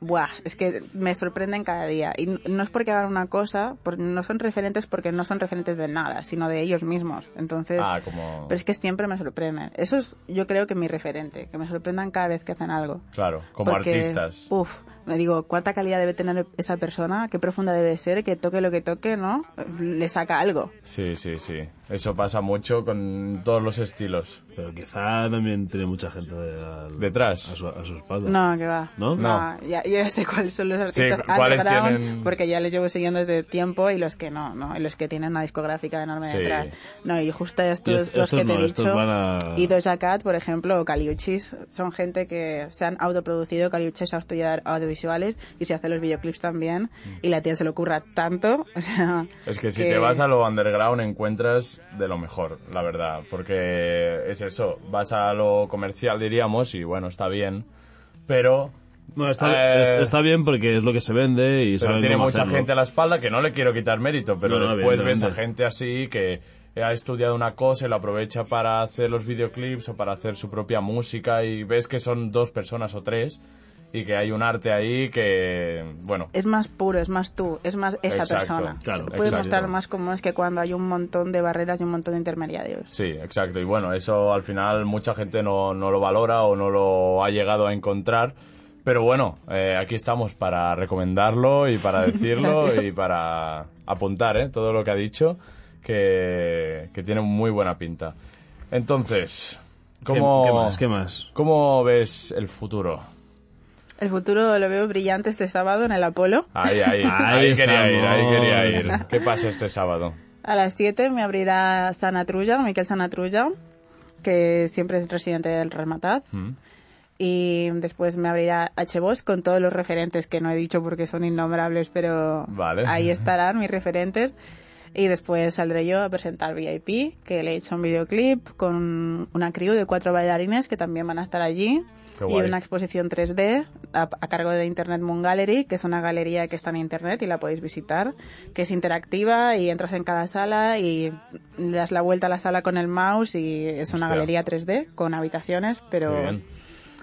Speaker 5: Buah, es que me sorprenden cada día. Y n- no es porque hagan una cosa, por- no son referentes porque no son referentes de nada, sino de ellos mismos. Entonces,
Speaker 3: Ah, como...
Speaker 5: pero es que siempre me sorprenden. Eso es, yo creo que mi referente, que me sorprendan cada vez que hacen algo.
Speaker 3: Claro, como
Speaker 5: Porque,
Speaker 3: artistas.
Speaker 5: Uf, Me digo, ¿cuánta calidad debe tener esa persona? ¿Qué profunda debe ser? Que toque lo que toque, ¿no? Le saca algo.
Speaker 3: Sí, sí, sí. Eso pasa mucho con todos los estilos.
Speaker 4: Pero quizá también tiene mucha gente de- al-
Speaker 3: Detrás.
Speaker 4: A su, a su espalda.
Speaker 5: No, que va.
Speaker 4: ¿no?
Speaker 5: No, ya, yo ya sé cuáles son los artistas
Speaker 3: cu- cuáles
Speaker 5: underground,
Speaker 3: tienen-
Speaker 5: porque ya los llevo siguiendo desde tiempo y los que no, ¿no? Y los que tienen una discográfica enorme
Speaker 3: Sí.
Speaker 5: detrás. No, y justo estos,
Speaker 4: Y est-
Speaker 5: los
Speaker 4: estos
Speaker 5: que te
Speaker 4: no,
Speaker 5: he
Speaker 4: estos
Speaker 5: dicho,
Speaker 4: van a-
Speaker 5: y Doja Cat, por ejemplo, o Caliuchis, son gente que se han autoproducido, Caliuchis a estudiar audiovisuales y se hace los videoclips también, y la tía se le ocurra tanto, [LAUGHS] o sea...
Speaker 3: Mm. Es que si te vas a lo underground encuentras de lo mejor, la verdad, porque es eso, vas a lo comercial diríamos y bueno, está bien, pero,
Speaker 4: No, está,
Speaker 3: Eh,
Speaker 4: est- está bien porque es lo que se vende y
Speaker 3: pero
Speaker 4: saben
Speaker 3: tiene
Speaker 4: cómo
Speaker 3: mucha
Speaker 4: hacerlo.
Speaker 3: gente a la espalda que no le quiero quitar mérito, pero
Speaker 4: No, no,
Speaker 3: después ves a
Speaker 4: evidentemente.
Speaker 3: gente así que ha estudiado una cosa y la aprovecha para hacer los videoclips o para hacer su propia música y ves que son dos personas o tres y que hay un arte ahí que, bueno,
Speaker 5: es más puro, es más tú, es más esa
Speaker 3: Exacto,
Speaker 5: persona.
Speaker 4: claro,
Speaker 5: Puedes
Speaker 3: exacto.
Speaker 5: mostrar más cómo es que cuando hay un montón de barreras y un montón de intermediarios.
Speaker 3: Sí, exacto. Y bueno, eso al final mucha gente no, no lo valora o no lo ha llegado a encontrar. Pero bueno, eh, aquí estamos para recomendarlo y para decirlo y para apuntar ¿eh? todo lo que ha dicho, que, que tiene muy buena pinta. Entonces,
Speaker 4: ¿Qué-
Speaker 3: ¿cómo,
Speaker 4: ¿Qué más? ¿Qué más?
Speaker 3: ¿cómo ves el futuro?
Speaker 5: El futuro lo veo brillante este sábado en el Apolo.
Speaker 3: Ahí, ahí, ahí,
Speaker 4: [LAUGHS] Ahí
Speaker 3: quería ir, ahí
Speaker 4: estamos.
Speaker 3: quería ir. ¿Qué pasa este sábado?
Speaker 5: A las 7 me abrirá Sanatrulla, Miquel Sanatrulla, que siempre es residente del Rematat.
Speaker 3: Mm.
Speaker 5: Y después me abrirá HBOS con todos los referentes que no he dicho porque son innombrables, pero
Speaker 3: Vale.
Speaker 5: ahí estarán mis referentes. Y después saldré yo a presentar VIP, que le he hecho un videoclip con una crew de cuatro bailarines que también van a estar allí.
Speaker 3: Qué
Speaker 5: Y
Speaker 3: guay.
Speaker 5: una exposición 3D a, a cargo de Internet Moon Gallery, que es una galería que está en Internet y la podéis visitar, que es interactiva y entras en cada sala y le das la vuelta a la sala con el mouse y es una
Speaker 3: Hostia.
Speaker 5: galería 3D con habitaciones, pero...
Speaker 3: Muy bien.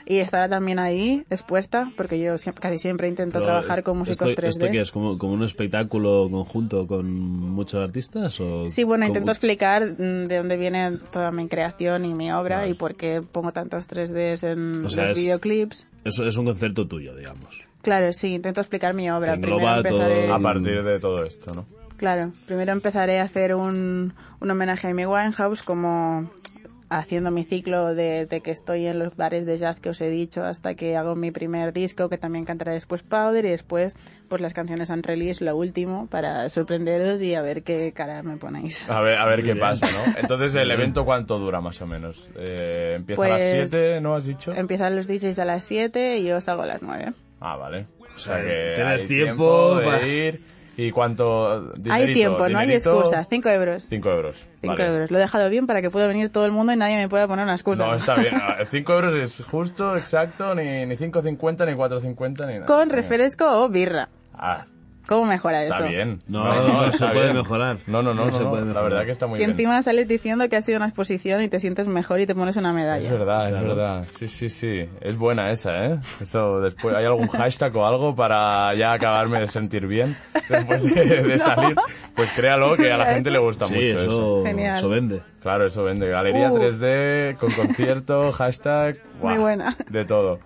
Speaker 5: Y estará también ahí expuesta, porque yo siempre- casi siempre intento
Speaker 4: Pero
Speaker 5: trabajar
Speaker 4: es-
Speaker 5: con músicos
Speaker 4: esto,
Speaker 5: 3D.
Speaker 4: ¿Esto qué es? ¿Como, como un espectáculo conjunto con muchos artistas? O
Speaker 5: Sí, bueno,
Speaker 4: como-
Speaker 5: intento explicar mm, de dónde viene toda mi creación y mi obra y por qué pongo tantos 3Ds en
Speaker 4: O sea,
Speaker 5: los
Speaker 4: es-
Speaker 5: videoclips.
Speaker 4: Es, es un concepto tuyo, digamos.
Speaker 5: Claro, sí, intento explicar mi obra.
Speaker 4: Que
Speaker 5: Primero
Speaker 4: engloba
Speaker 5: empezaré,
Speaker 4: todo-
Speaker 3: A partir de todo esto, ¿no?
Speaker 5: claro, primero empezaré a hacer un, un homenaje a Amy Winehouse como haciendo mi ciclo de, de que estoy en los bares de jazz que os he dicho hasta que hago mi primer disco que también cantaré después Powder y después pues las canciones and release lo último para sorprenderos y a ver qué cara me ponéis.
Speaker 3: A ver, a ver qué
Speaker 4: bien.
Speaker 3: pasa, ¿no? Entonces, ¿el evento cuánto dura más o menos? Eh, empieza a las
Speaker 5: Pues,
Speaker 3: 7, ¿no has dicho?
Speaker 5: Empiezan los DJs a las 7 y yo salgo a las 9.
Speaker 3: Ah, vale. O sea que
Speaker 4: Tienes
Speaker 3: hay
Speaker 4: tiempo
Speaker 3: de
Speaker 4: pa-
Speaker 3: ir. ¿Y cuánto? Dinerito,
Speaker 5: hay tiempo, no hay excusa. 5 euros.
Speaker 3: 5 euros.
Speaker 5: 5
Speaker 3: vale.
Speaker 5: euros. Lo he dejado bien para que pueda venir todo el mundo y nadie me pueda poner una excusa.
Speaker 3: No, está bien. 5 euros es justo, exacto, ni, ni 5.50, ni 4.50, ni nada.
Speaker 5: [LAUGHS] Con
Speaker 3: Venga.
Speaker 5: refresco o birra.
Speaker 3: Ah,
Speaker 5: ¿Cómo mejora eso?
Speaker 3: está bien.
Speaker 4: No,
Speaker 3: [LAUGHS]
Speaker 4: no, se
Speaker 3: está
Speaker 4: puede
Speaker 3: bien.
Speaker 4: mejorar.
Speaker 3: No, no, no,
Speaker 4: No
Speaker 3: no,
Speaker 4: se
Speaker 3: no,
Speaker 4: puede
Speaker 3: la
Speaker 4: mejorar.
Speaker 3: verdad que está muy
Speaker 5: Que
Speaker 3: bien.
Speaker 5: encima sales diciendo que ha sido una exposición y te sientes mejor y te pones una
Speaker 3: Es
Speaker 5: medalla.
Speaker 3: verdad, es verdad. Sí, sí, sí. Es buena esa, ¿eh? Eso, después, ¿hay algún hashtag o algo para ya acabarme de sentir bien después de, de
Speaker 5: [LAUGHS]
Speaker 3: salir? Pues créalo, que a la gente le gusta
Speaker 4: Sí,
Speaker 3: mucho eso.
Speaker 4: eso,
Speaker 5: Genial.
Speaker 4: eso vende.
Speaker 3: Claro, eso vende. Galería
Speaker 5: Uh.
Speaker 3: 3D, con concierto, hashtag.
Speaker 5: Muy
Speaker 3: buah,
Speaker 5: buena.
Speaker 3: De todo.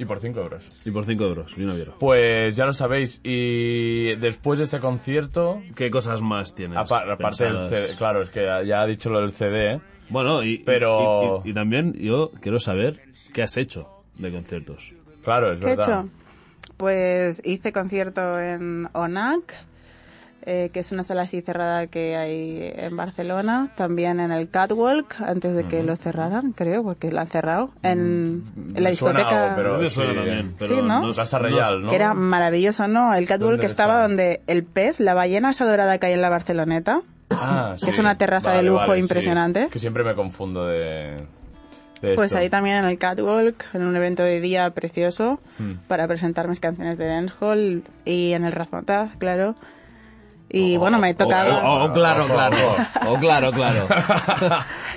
Speaker 3: Y por 5 euros.
Speaker 4: Y por 5 euros, yo no quiero.
Speaker 3: Pues ya lo sabéis. Y después de este concierto,
Speaker 4: ¿Qué cosas más tienes?
Speaker 3: apa- aparte del
Speaker 4: pensadas?
Speaker 3: CD, claro, es que ya, ya ha dicho lo del CD, ¿eh?
Speaker 4: Bueno, y,
Speaker 3: Pero-
Speaker 4: y, y- y también yo quiero saber qué has hecho de conciertos.
Speaker 3: Claro, es
Speaker 5: ¿Qué he
Speaker 3: verdad.
Speaker 5: hecho? Pues hice concierto en ONAC, eh, que es una sala así cerrada que hay en Barcelona. También en el Catwalk, antes de que lo cerraran, creo, porque lo han cerrado. En, en la
Speaker 3: Mm, me suena
Speaker 5: discoteca.
Speaker 3: algo, pero-
Speaker 4: Creo que
Speaker 3: sí.
Speaker 4: suena también, pero
Speaker 5: Sí, ¿no?
Speaker 4: es-
Speaker 3: Plaza Reial, ¿no?
Speaker 5: Que era maravilloso, ¿no? El catwalk
Speaker 3: ¿Dónde
Speaker 5: que estaba
Speaker 3: estaba?
Speaker 5: donde el pez, la ballena esa dorada que hay en la Barceloneta.
Speaker 3: Ah,
Speaker 5: que es una terraza de lujo
Speaker 3: sí.
Speaker 5: impresionante.
Speaker 3: Que siempre me confundo de. de
Speaker 5: Pues
Speaker 3: esto.
Speaker 5: ahí también en el catwalk, en un evento de día precioso,
Speaker 3: Hmm.
Speaker 5: para presentar mis canciones de dancehall y en el Razmataz, claro. Y bueno, me tocaba...
Speaker 4: Oh, oh, claro, claro. [LAUGHS] Oh, claro,
Speaker 3: [LAUGHS]
Speaker 4: claro.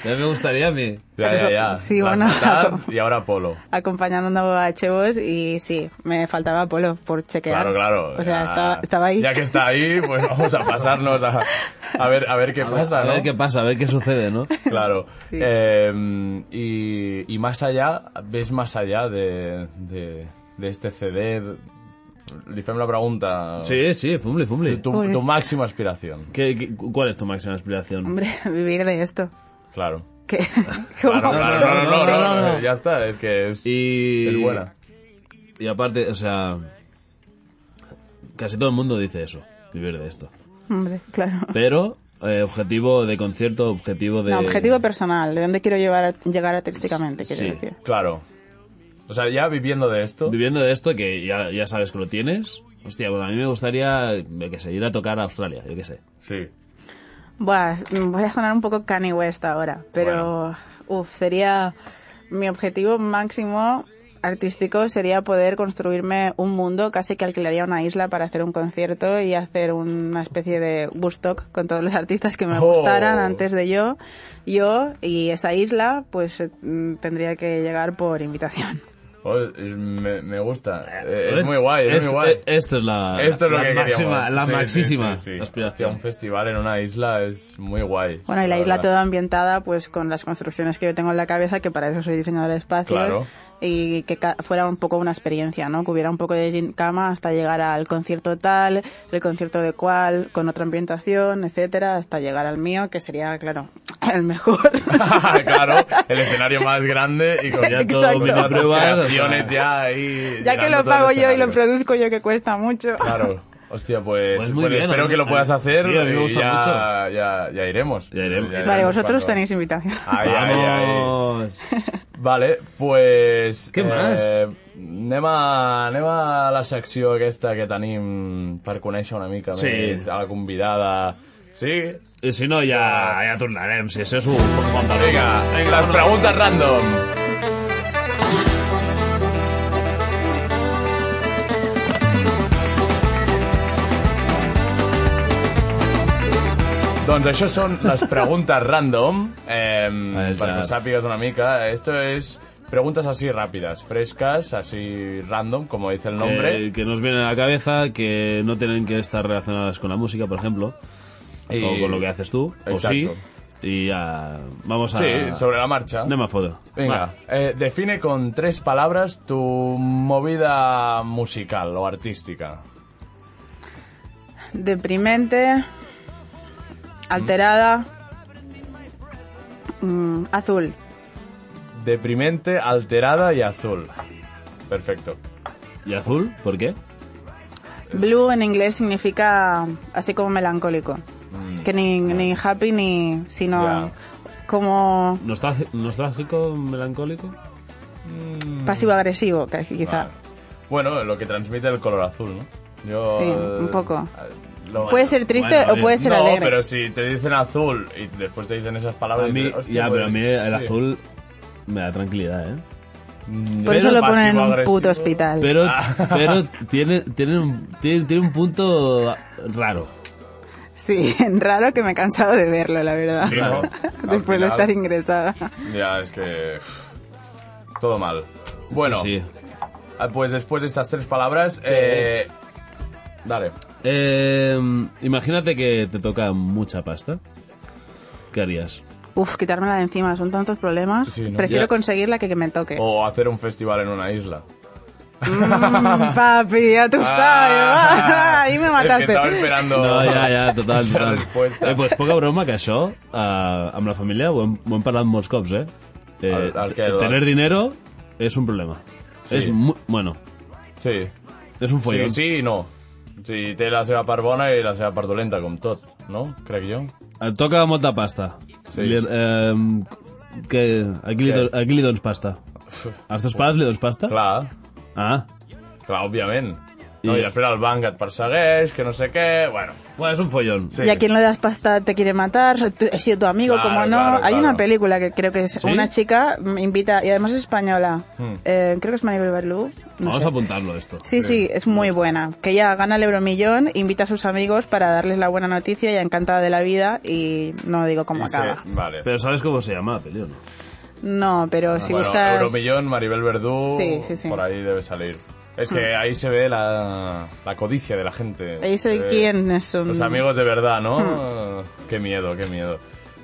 Speaker 4: ya me gustaría a mí.
Speaker 3: Ya, ya, ya.
Speaker 5: [LAUGHS] Sí,
Speaker 3: Las
Speaker 5: bueno. [LAUGHS]
Speaker 3: notas Y ahora Polo.
Speaker 5: acompañando a Chevos y sí, me faltaba Polo por chequear.
Speaker 3: Claro, claro.
Speaker 5: O sea,
Speaker 3: ya-
Speaker 5: estaba, estaba ahí.
Speaker 3: Ya que está ahí, pues vamos a pasarnos a, a ver a ver qué pasa,
Speaker 4: a ver
Speaker 3: ¿no?
Speaker 4: qué pasa, a ver qué sucede, ¿no?
Speaker 3: [LAUGHS] Claro. Eh, y, y más allá, ves más allá de, de, de este CD, Li fem la pregunta.
Speaker 4: Sí, sí, fumble, fumble.
Speaker 3: Tu,
Speaker 5: Muy bien.
Speaker 3: tu máxima aspiración.
Speaker 4: ¿Qué- qué- cuál es tu máxima aspiración?
Speaker 5: [LAUGHS] Hombre, vivir de esto. [LAUGHS]
Speaker 3: Claro.
Speaker 5: Que,
Speaker 3: [LAUGHS] Claro,
Speaker 5: [LAUGHS] como-
Speaker 3: claro, no, no, no, no, no, ya está, es que es,
Speaker 4: Y...
Speaker 3: es buena.
Speaker 4: Y aparte, o sea... Casi todo el mundo dice eso, vivir de esto.
Speaker 5: Hombre, claro.
Speaker 4: Pero, eh, objetivo de concierto, objetivo de...
Speaker 5: No, objetivo personal, de dónde quiero llevar a- llegar artísticamente, quiero
Speaker 4: Sí.
Speaker 5: decir.
Speaker 3: Claro. O sea, ya viviendo de esto,
Speaker 4: Viviendo de esto, que ya, ya sabes que lo tienes. Hostia, pues a mí me gustaría, yo qué sé, ir a tocar a Australia, yo qué sé.
Speaker 3: sí.
Speaker 5: Buah, mm, voy a sonar un poco Kanye West ahora, pero uf, sería mi objetivo máximo artístico sería poder construirme un mundo, casi que alquilaría una isla para hacer un concierto y hacer una especie de Woodstock con todos los artistas que me
Speaker 3: Oh.
Speaker 5: gustaran antes de yo, yo y esa isla pues eh, mm, tendría que llegar por invitación.
Speaker 3: Oh, es- me, me gusta. Eh,
Speaker 4: ¿Ves?
Speaker 3: es muy guay, es
Speaker 4: Este-
Speaker 3: muy guay.
Speaker 4: Esto es la,
Speaker 3: Esto es lo
Speaker 4: la
Speaker 3: que
Speaker 4: máxima,
Speaker 3: queríamos.
Speaker 4: la
Speaker 3: Sí, sí,
Speaker 4: maxísima
Speaker 3: sí, sí. Hostia,
Speaker 4: aspiración.
Speaker 3: un festival en una isla es muy guay.
Speaker 5: Bueno, y la isla
Speaker 3: verdad.
Speaker 5: toda ambientada pues con las construcciones que yo tengo en la cabeza, que para eso soy diseñadora de espacios.
Speaker 3: Claro.
Speaker 5: Y que ca- fuera un poco una experiencia, ¿no? Que hubiera un poco de gincama hasta llegar al concierto tal, el concierto de cual, con otra ambientación, etcétera, hasta llegar al mío, que sería, claro, [LAUGHS] el mejor.
Speaker 3: [LAUGHS] [LAUGHS] claro, el escenario más grande y con ya todo,
Speaker 5: Exacto.
Speaker 3: con todas las
Speaker 4: Pruebas,
Speaker 3: creaciones
Speaker 4: o sea.
Speaker 3: ya ahí.
Speaker 5: [LAUGHS] ya que
Speaker 3: llegando
Speaker 5: lo
Speaker 3: a todos
Speaker 5: pago
Speaker 3: los
Speaker 5: yo y lo
Speaker 3: escenarios.
Speaker 5: produzco yo, que cuesta mucho.
Speaker 3: Claro. Hostia, pues,
Speaker 4: Pues muy
Speaker 3: pues
Speaker 4: bien,
Speaker 3: espero
Speaker 4: a mí-
Speaker 3: que lo puedas
Speaker 4: a-
Speaker 3: hacer
Speaker 4: sí, a mí me
Speaker 3: y
Speaker 4: gusta
Speaker 3: ya,
Speaker 4: mucho.
Speaker 3: Ya, ya iremos.
Speaker 4: Ya iremos.
Speaker 5: [LAUGHS] Vale, vosotros
Speaker 3: cuando- Ah.
Speaker 5: tenéis invitación. [LAUGHS]
Speaker 3: Ay, ay, ay.
Speaker 4: ¡Vamos!
Speaker 3: Vale, pues... eh,
Speaker 4: Què més?
Speaker 3: Anem a, anem a la secció aquesta que tenim per conèixer una mica
Speaker 4: Sí.
Speaker 3: més a la convidada. Sí?
Speaker 4: I si no, ja, ja tornarem, si això és un...
Speaker 3: Vinga, vinga les preguntes random. Doncs això són les preguntes random, eh, perquè ho
Speaker 4: Exacte.
Speaker 3: sàpigues una mica. Esto es preguntas así rápidas, frescas, así random, como dice el nombre.
Speaker 4: Que, que nos vienen a la cabeza, que no tienen que estar relacionadas con la música, por ejemplo,
Speaker 3: Y-
Speaker 4: o con lo que haces tú,
Speaker 3: Exacto.
Speaker 4: o sí. Y ya, vamos a...
Speaker 3: Sí, sobre la marcha.
Speaker 4: Ah. Anem a fotre.
Speaker 3: Venga,
Speaker 4: Va.
Speaker 3: eh, define con tres palabras tu movida musical o artística.
Speaker 5: Deprimente, alterada, mm, azul.
Speaker 3: Deprimente, alterada y azul. Perfecto.
Speaker 4: ¿Y azul? ¿Por qué?
Speaker 5: Blue en inglés significa así como melancólico. Que ni, ni happy ni. sino
Speaker 3: Mm. Ya.
Speaker 5: como
Speaker 4: Nostalgi- ¿Nostálgico, melancólico?
Speaker 5: pasivo-agresivo, que- quizá.
Speaker 3: Mm. Vale. Bueno, lo que transmite el color azul, ¿no? Yo,
Speaker 5: Sí,
Speaker 3: eh,
Speaker 5: un poco.
Speaker 3: lo-
Speaker 5: Puede ser triste
Speaker 4: bueno,
Speaker 5: o puede ser
Speaker 3: no,
Speaker 5: alegre.
Speaker 3: pero si te dicen azul y después te dicen esas
Speaker 4: A
Speaker 3: palabras...
Speaker 4: mí,
Speaker 3: dices, "Hostia,
Speaker 4: ya, pero a
Speaker 3: pues,
Speaker 4: mí el
Speaker 3: sí".
Speaker 4: azul me da tranquilidad, ¿eh?
Speaker 3: Mm,
Speaker 5: Por eso
Speaker 3: pero
Speaker 5: lo ponen en un
Speaker 3: pasivo-agresivo.
Speaker 5: puto hospital.
Speaker 4: Pero,
Speaker 3: Ah. [LAUGHS]
Speaker 4: pero tiene, tiene, un, tiene, tiene un punto raro.
Speaker 5: Sí, [LAUGHS] raro que me he cansado de verlo, la verdad.
Speaker 3: Sí,
Speaker 5: [LAUGHS]
Speaker 3: ¿no?
Speaker 5: Después de
Speaker 3: Al final-
Speaker 5: estar ingresada.
Speaker 3: Ya, es que... uf, Todo mal. Bueno,
Speaker 4: Sí, sí.
Speaker 3: ah, pues después de estas tres palabras... Eh, dale.
Speaker 4: Eh, imagínate que te toca mucha pasta. ¿Qué harías?
Speaker 5: Uf, quitármela de encima, son tantos problemas.
Speaker 3: Sí, ¿no? Oh.
Speaker 5: Prefiero
Speaker 4: Ya.
Speaker 5: conseguirla que que me toque.
Speaker 3: O hacer un festival en una isla.
Speaker 5: [LAUGHS] Mm, papi, ya tú sabes.
Speaker 3: Ah,
Speaker 5: [LAUGHS] Ahí me
Speaker 3: es que
Speaker 5: mataste.
Speaker 3: Estava esperando...
Speaker 4: No, ja, ja,
Speaker 3: [LAUGHS]
Speaker 4: total,
Speaker 3: La
Speaker 4: total.
Speaker 3: resposta.
Speaker 4: Eh, pues poca broma que això, eh, amb la família ho hem, ho hem parlat molts cops, eh? eh
Speaker 3: El- el que-
Speaker 4: tener dinero es un problema.
Speaker 3: Sí.
Speaker 4: És mu bueno,
Speaker 3: Sí.
Speaker 4: és un
Speaker 3: Sí,
Speaker 4: follón.
Speaker 3: Pues sí i no. Sí, té la seva part bona i la seva part dolenta, com tot, no? Crec
Speaker 5: [LAUGHS]
Speaker 3: jo.
Speaker 4: Et Eh, toca molta pasta.
Speaker 3: Sí.
Speaker 4: Li, eh, que, a, qui li,
Speaker 3: Què?
Speaker 4: do- a qui li dones pasta? Als teus pares li dones pasta?
Speaker 3: Clar,
Speaker 4: Ah.
Speaker 3: clar, òbviament. No,
Speaker 4: I-
Speaker 3: I després el banc et persegueix, que no sé què... Bueno,
Speaker 4: Bueno, és un follón.
Speaker 3: sí.
Speaker 5: Y a quien le das pasta te quiere matar, tú- he sido tu amigo,
Speaker 3: Claro,
Speaker 5: como no.
Speaker 3: claro,
Speaker 5: Hay
Speaker 3: claro.
Speaker 5: una película que creo que es
Speaker 4: ¿Sí?
Speaker 5: una chica mm, invita, y además es española,
Speaker 3: Hmm.
Speaker 5: Eh, creo que es Maribel Barlú. no
Speaker 3: Ah,
Speaker 4: Vamos
Speaker 5: sé.
Speaker 4: a apuntarlo esto.
Speaker 5: Sí, sí, es muy buena. Que ella gana el euromillón, invita a sus amigos para darles la buena noticia, ella encantada de la vida y no digo cómo
Speaker 3: Sí,
Speaker 5: acaba.
Speaker 3: Vale.
Speaker 4: Pero sabes cómo se llama la peli, o ¿no?
Speaker 5: No, pero si
Speaker 3: Ah, bueno,
Speaker 5: buscas...
Speaker 3: Euromillón, Maribel Verdú...
Speaker 5: Sí, sí, sí.
Speaker 3: Por ahí debe salir. Es que ahí se ve la, la codicia de la gente.
Speaker 5: Ahí sé
Speaker 3: Eh,
Speaker 5: quiénes son.
Speaker 3: Los amigos de verdad,
Speaker 5: Hmm.
Speaker 3: ¿no? Qué miedo, qué miedo.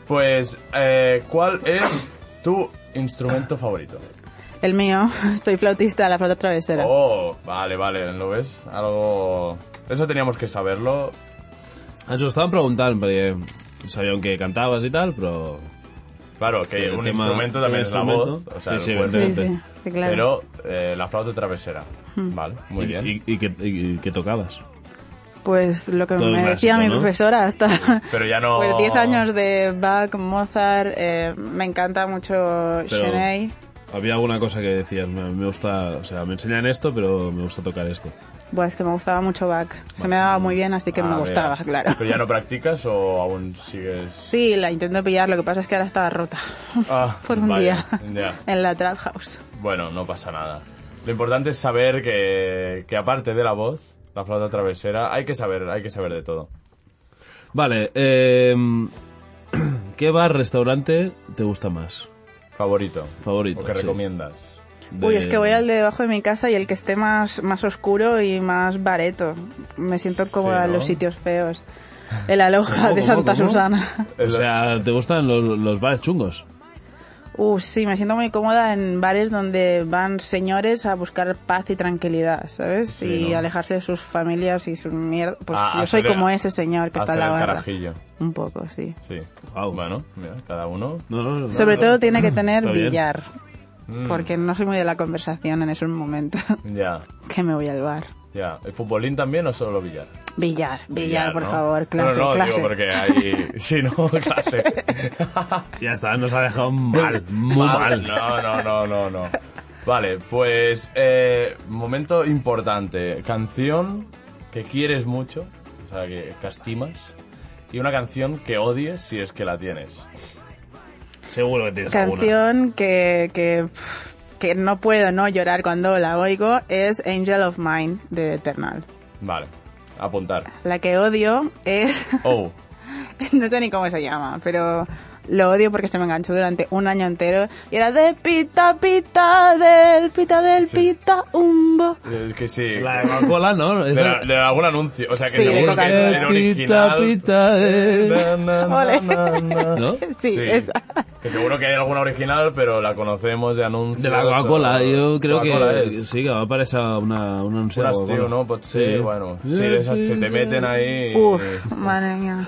Speaker 3: Pues, eh, ¿cuál es tu instrumento favorito?
Speaker 5: El mío, [LAUGHS] soy flautista, la flauta travesera.
Speaker 3: Oh, vale, vale, ¿lo ves? Algo... Eso teníamos que saberlo.
Speaker 4: Ah, Ens ho estàvem preguntant, perquè sabíem que cantaves i tal, però...
Speaker 3: Claro, que
Speaker 4: El
Speaker 3: un
Speaker 4: tema-
Speaker 3: instrumento
Speaker 4: el
Speaker 3: también es la
Speaker 4: instrumento.
Speaker 3: voz, o sea,
Speaker 4: Sí,
Speaker 3: el
Speaker 4: sí,
Speaker 3: cuerpo.
Speaker 5: sí,
Speaker 4: evidente.
Speaker 5: sí, sí, claro. Hmm.
Speaker 3: Pero eh, la flauta travesera. Vale, muy bien.
Speaker 4: I, i, què- i, i què tocaves?
Speaker 5: Pues lo que
Speaker 4: Todo
Speaker 5: me
Speaker 4: es
Speaker 5: decía
Speaker 4: básico,
Speaker 5: mi
Speaker 4: ¿no?
Speaker 5: profesora hasta...
Speaker 3: Pero ya no-
Speaker 5: Pues 10 años de Bach, Mozart, eh, me encanta mucho
Speaker 4: Pero-
Speaker 5: Scheney.
Speaker 4: Había alguna cosa que decías, me, me gusta, o sea, me enseñan esto, pero me gusta tocar esto.
Speaker 5: Buah, es Pues, que me gustaba mucho Bach. Se me daba muy bien, así que
Speaker 3: A
Speaker 5: me
Speaker 3: ver.
Speaker 5: gustaba, claro.
Speaker 3: Ah, ¿Pero ya no practicas o aún sigues...?
Speaker 5: Sí, la intento pillar, lo que pasa es que ahora estaba rota. [LAUGHS]
Speaker 3: Ah,
Speaker 5: Por un
Speaker 3: vaya,
Speaker 5: día.
Speaker 3: ya.
Speaker 5: En la Trap House.
Speaker 3: Bueno, no pasa nada. Lo importante es saber que, que aparte de la voz, la flauta travesera, hay que saber, hay que saber de todo.
Speaker 4: Vale, eh, [CLEARS THROAT] ¿qué bar, restaurante te gusta más?
Speaker 3: Favorito.
Speaker 4: Favorito,
Speaker 3: O que
Speaker 4: sí.
Speaker 3: recomiendas.
Speaker 4: De-
Speaker 5: Uy, es que voy al de debajo de mi casa y el que esté más, más oscuro y más bareto. Me siento cómoda en
Speaker 3: ¿no?
Speaker 5: los sitios feos.
Speaker 3: [LAUGHS]
Speaker 5: El aloja de
Speaker 4: ¿Cómo,
Speaker 5: Santa
Speaker 4: cómo, cómo?
Speaker 5: Susana.
Speaker 4: O sea, ¿te gustan los, los bares chungos?
Speaker 5: Uh, sí, me siento muy cómoda en bares donde van señores a buscar paz y tranquilidad, ¿sabes? y
Speaker 3: ¿no?
Speaker 5: alejarse de sus familias y sus mierdas. Pues
Speaker 3: Ah,
Speaker 5: yo soy
Speaker 3: hacer-
Speaker 5: como ese señor que está en
Speaker 3: hacer
Speaker 5: la
Speaker 3: el
Speaker 5: barra.
Speaker 3: carajillo,
Speaker 5: Un poco, sí.
Speaker 3: sí.
Speaker 4: Guau.
Speaker 3: Bueno, mira, cada uno.
Speaker 4: No, no, no,
Speaker 5: Sobre
Speaker 4: no.
Speaker 5: todo tiene
Speaker 3: [CLEARS THROAT]
Speaker 5: que tener
Speaker 4: Está bien.
Speaker 5: billar,
Speaker 3: Mm.
Speaker 5: porque no soy muy de la conversación en esos momentos [LAUGHS]
Speaker 3: Ya,
Speaker 5: que me voy al bar.
Speaker 3: ya. ¿El futbolín también o solo billar?
Speaker 5: Billar, billar, por
Speaker 3: ¿no?
Speaker 5: favor, clase,
Speaker 3: No, no,
Speaker 5: clase.
Speaker 3: digo porque hay... [LAUGHS] Sí, no, clase.
Speaker 4: Ya está, nos ha dejado
Speaker 3: [LAUGHS]
Speaker 4: mal, muy mal.
Speaker 3: No, no, no, no, no. Vale, pues eh, momento importante. Canción que quieres mucho, o sea, que, que estimas, y una canción que odies si es que la tienes.
Speaker 4: Seguro que tienes alguna.
Speaker 5: Canción que, que, pff, que no puedo no llorar cuando la oigo es Angel of Mine de Eternal.
Speaker 3: Vale, apuntar.
Speaker 5: La que odio es... [LAUGHS]
Speaker 3: Oh,
Speaker 5: no sé ni cómo se llama, pero lo odio porque se me enganchó durante un año entero y era de pita pita del pita del pita umbo. [LAUGHS]
Speaker 3: eh, que sí.
Speaker 4: La de Coca-Cola, ¿no?
Speaker 3: De,
Speaker 4: Esa-
Speaker 3: la- de algún anuncio. O sea, que
Speaker 5: Sí,
Speaker 3: seguro que
Speaker 5: Coca-Cola.
Speaker 3: es el original.
Speaker 4: Pita, eh.
Speaker 3: Na, na, na,
Speaker 5: Ole.
Speaker 3: na, na.
Speaker 4: ¿No?
Speaker 5: Sí, esa.
Speaker 3: Que seguro que hay alguna original, pero la conocemos de anuncios.
Speaker 4: De la Coca-Cola,
Speaker 3: o-
Speaker 4: yo creo
Speaker 3: Coca-Cola
Speaker 4: que
Speaker 3: es.
Speaker 4: sí, que va a aparecer una, una anuncia.
Speaker 3: Unas,
Speaker 4: de Coca-Cola.
Speaker 3: tío, ¿no? Pues sí, bueno. Sí, de esas se te meten ahí.
Speaker 4: Eh,
Speaker 3: y-
Speaker 5: Uf, madre mía.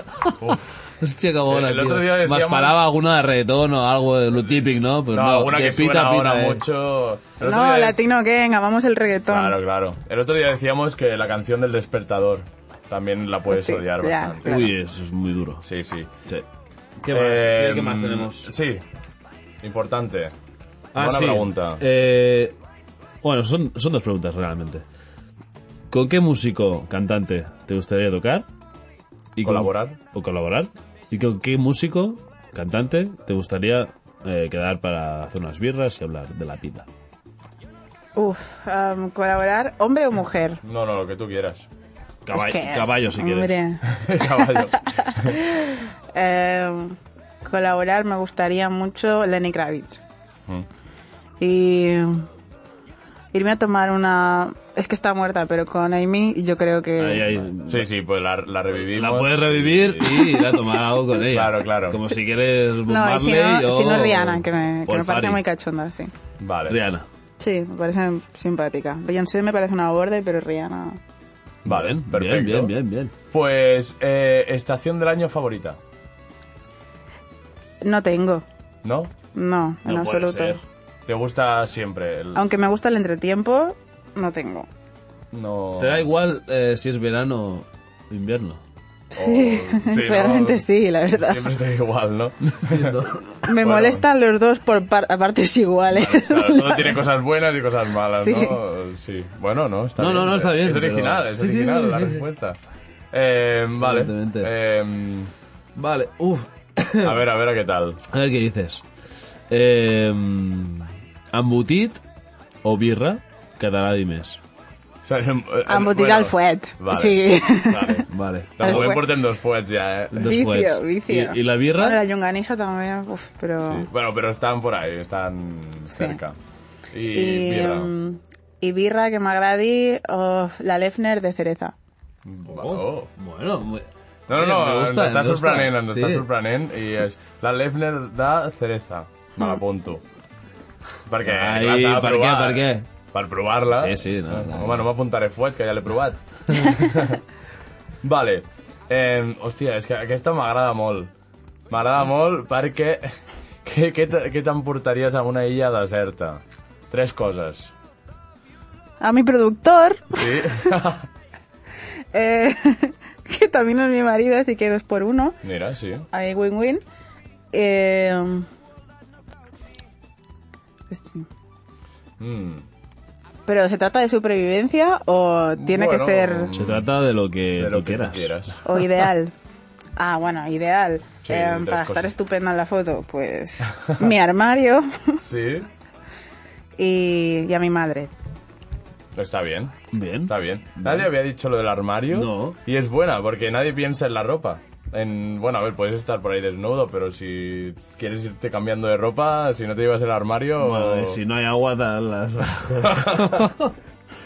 Speaker 4: Hostia, qué bona,
Speaker 3: Eh, El otro
Speaker 4: tío.
Speaker 3: día
Speaker 4: Más
Speaker 3: decíamos-
Speaker 4: paraba alguna de reggaetón o algo de lo típico, ¿no? Pues
Speaker 3: No,
Speaker 4: no,
Speaker 3: alguna
Speaker 4: de
Speaker 3: que suena ahora
Speaker 4: eh.
Speaker 3: mucho. El otro
Speaker 5: No,
Speaker 3: día-
Speaker 5: latino que amamos el reggaetón.
Speaker 3: Claro, claro. El otro día decíamos que la canción del despertador también la puedes
Speaker 5: Sí,
Speaker 3: odiar
Speaker 5: ya.
Speaker 3: bastante.
Speaker 5: Claro.
Speaker 4: Uy, eso es muy duro.
Speaker 3: Sí, sí.
Speaker 4: Sí. ¿Qué
Speaker 3: Eh, Sí. Importante. Buena pregunta.
Speaker 4: Ah, Eh, bueno, son, son dos preguntas realmente. ¿Con qué músico, cantante te gustaría tocar? Y con-
Speaker 3: Colaborar.
Speaker 4: o colaborar. ¿Y con qué músico, cantante te gustaría eh, quedar para hacer unas birras y hablar de la vida?
Speaker 5: Uf, um, colaborar, hombre o mujer.
Speaker 3: No, no, lo que tú quieras. [LAUGHS]
Speaker 4: Caball-
Speaker 5: Es que-
Speaker 4: caballo, si quieres.
Speaker 5: hombre.
Speaker 3: Caballo.
Speaker 5: Eh, colaborar me gustaría mucho Lenny Kravitz.
Speaker 3: Mm.
Speaker 5: Y irme a tomar una... Es que está muerta, pero con Amy yo creo que...
Speaker 4: Ahí, ahí.
Speaker 3: Sí, sí, pues la, la revivimos.
Speaker 4: La puedes revivir y ir a tomar algo con ella.
Speaker 3: Claro, claro.
Speaker 4: Como si quieres Bob
Speaker 5: No, y si no,
Speaker 4: Marley o-
Speaker 5: si no Rihanna, que me, que
Speaker 4: o
Speaker 5: me
Speaker 4: el
Speaker 5: parece
Speaker 4: Fari.
Speaker 5: muy cachonda, sí.
Speaker 3: Vale.
Speaker 4: Rihanna.
Speaker 5: Sí, me parece simpática. Beyoncé me parece una borde, pero Rihanna...
Speaker 3: Vale,
Speaker 4: Bien, bien,
Speaker 3: perfecto.
Speaker 4: Bien, bien, bien.
Speaker 3: Pues, eh, estación del año favorita,
Speaker 5: No tengo.
Speaker 3: ¿no?
Speaker 5: No, en
Speaker 4: No puede
Speaker 5: absoluto.
Speaker 4: ser.
Speaker 3: ¿Te gusta siempre? el-
Speaker 5: Aunque me gusta el entretiempo, no tengo.
Speaker 3: No...
Speaker 4: Te da igual eh, si es verano o invierno.
Speaker 3: [LAUGHS] Sí,
Speaker 5: [LAUGHS] Realmente sí, la verdad.
Speaker 3: Siempre estoy igual,
Speaker 4: [LAUGHS]
Speaker 3: ¿no? [LAUGHS]
Speaker 5: Me
Speaker 3: Bueno.
Speaker 5: molestan los dos por par- a partes iguales.
Speaker 4: Ah,
Speaker 5: [LAUGHS]
Speaker 3: Claro, todo tiene cosas buenas y cosas malas,
Speaker 5: Sí.
Speaker 3: ¿no? Sí. Bueno, no, está
Speaker 4: No,
Speaker 3: bien.
Speaker 4: no, no, está bien,
Speaker 3: Es
Speaker 4: pero-
Speaker 3: original, es
Speaker 4: Sí, sí,
Speaker 3: original
Speaker 4: sí,
Speaker 3: la
Speaker 4: sí, sí.
Speaker 3: respuesta. Eh, vale.
Speaker 4: Evidentemente.
Speaker 3: Eh,
Speaker 4: Vale, uff.
Speaker 3: a ver, a ver, a qué tal.
Speaker 4: [COUGHS] A ver qué dices. Eh, embotit o birra quedarà dimers.
Speaker 3: O sea, eh, eh,
Speaker 5: Embotit
Speaker 3: bueno,
Speaker 5: al fuet.
Speaker 3: Vale.
Speaker 5: Ah, Sí. [LAUGHS]
Speaker 3: Vale.
Speaker 4: Vale.
Speaker 3: Tampoco
Speaker 5: Al
Speaker 3: me
Speaker 5: fuet.
Speaker 3: importen dos fuets ya, ¿eh?
Speaker 4: Dos
Speaker 5: vicio,
Speaker 4: fuets.
Speaker 5: vicio.
Speaker 4: I, I la birra?
Speaker 5: Bueno, la llonganisa también, uf, pero...
Speaker 3: Sí. Bueno, pero están por ahí, están cerca. Y,
Speaker 5: Y,
Speaker 3: birra.
Speaker 5: mm, y birra que me agradi, o la Lefner de cereza.
Speaker 3: Oh.
Speaker 4: Bueno, muy-
Speaker 3: No, no,
Speaker 4: Eh,
Speaker 3: no,
Speaker 4: me gusta,
Speaker 3: em està
Speaker 4: me gusta.
Speaker 3: sorprenent, ens
Speaker 4: Sí.
Speaker 3: està sorprenent i és la Lefner de Cereza, me l'apunto. Perquè
Speaker 8: Ai,
Speaker 3: clar, s'ha de
Speaker 8: per què,
Speaker 3: provar.
Speaker 8: per què?
Speaker 3: Per provar-la.
Speaker 8: Sí, sí, no, no.
Speaker 3: Home, no m'apuntaré fuet, que ja l'he provat. vale. Eh, hòstia, és que aquesta m'agrada molt. M'agrada molt perquè... [LAUGHS] Què, què, te- què t'emportaries a una illa deserta? Tres coses.
Speaker 5: A mi productor,
Speaker 3: Sí?
Speaker 5: eh, [LAUGHS] que también es mi marido, así que dos por uno.
Speaker 3: Mira, sí.
Speaker 5: Ahí win-win. Eh, este,
Speaker 3: Mm.
Speaker 5: Pero ¿se trata de supervivencia o tiene
Speaker 3: Bueno,
Speaker 5: que ser
Speaker 3: mm,
Speaker 4: Se trata de lo que
Speaker 3: de
Speaker 4: tú
Speaker 3: lo que
Speaker 4: quieras.
Speaker 3: tú quieras.
Speaker 5: o ideal? [LAUGHS] Ah, bueno, ideal.
Speaker 3: Sí,
Speaker 5: Eh,
Speaker 3: tres
Speaker 5: para estar
Speaker 3: cosas.
Speaker 5: estupenda en la foto, pues mi armario [LAUGHS]
Speaker 3: Sí?
Speaker 5: y, y a mi madre.
Speaker 3: Pues Está bien.
Speaker 4: Bien.
Speaker 3: Está bien. Nadie había dicho lo del armario.
Speaker 4: No.
Speaker 3: Y es buena, porque nadie piensa en la ropa. En, bueno, a ver, puedes estar por ahí desnudo, pero si quieres irte cambiando de ropa, si no te llevas el armario,
Speaker 4: Bueno, y si no hay agua,
Speaker 3: [LAUGHS]
Speaker 4: da las...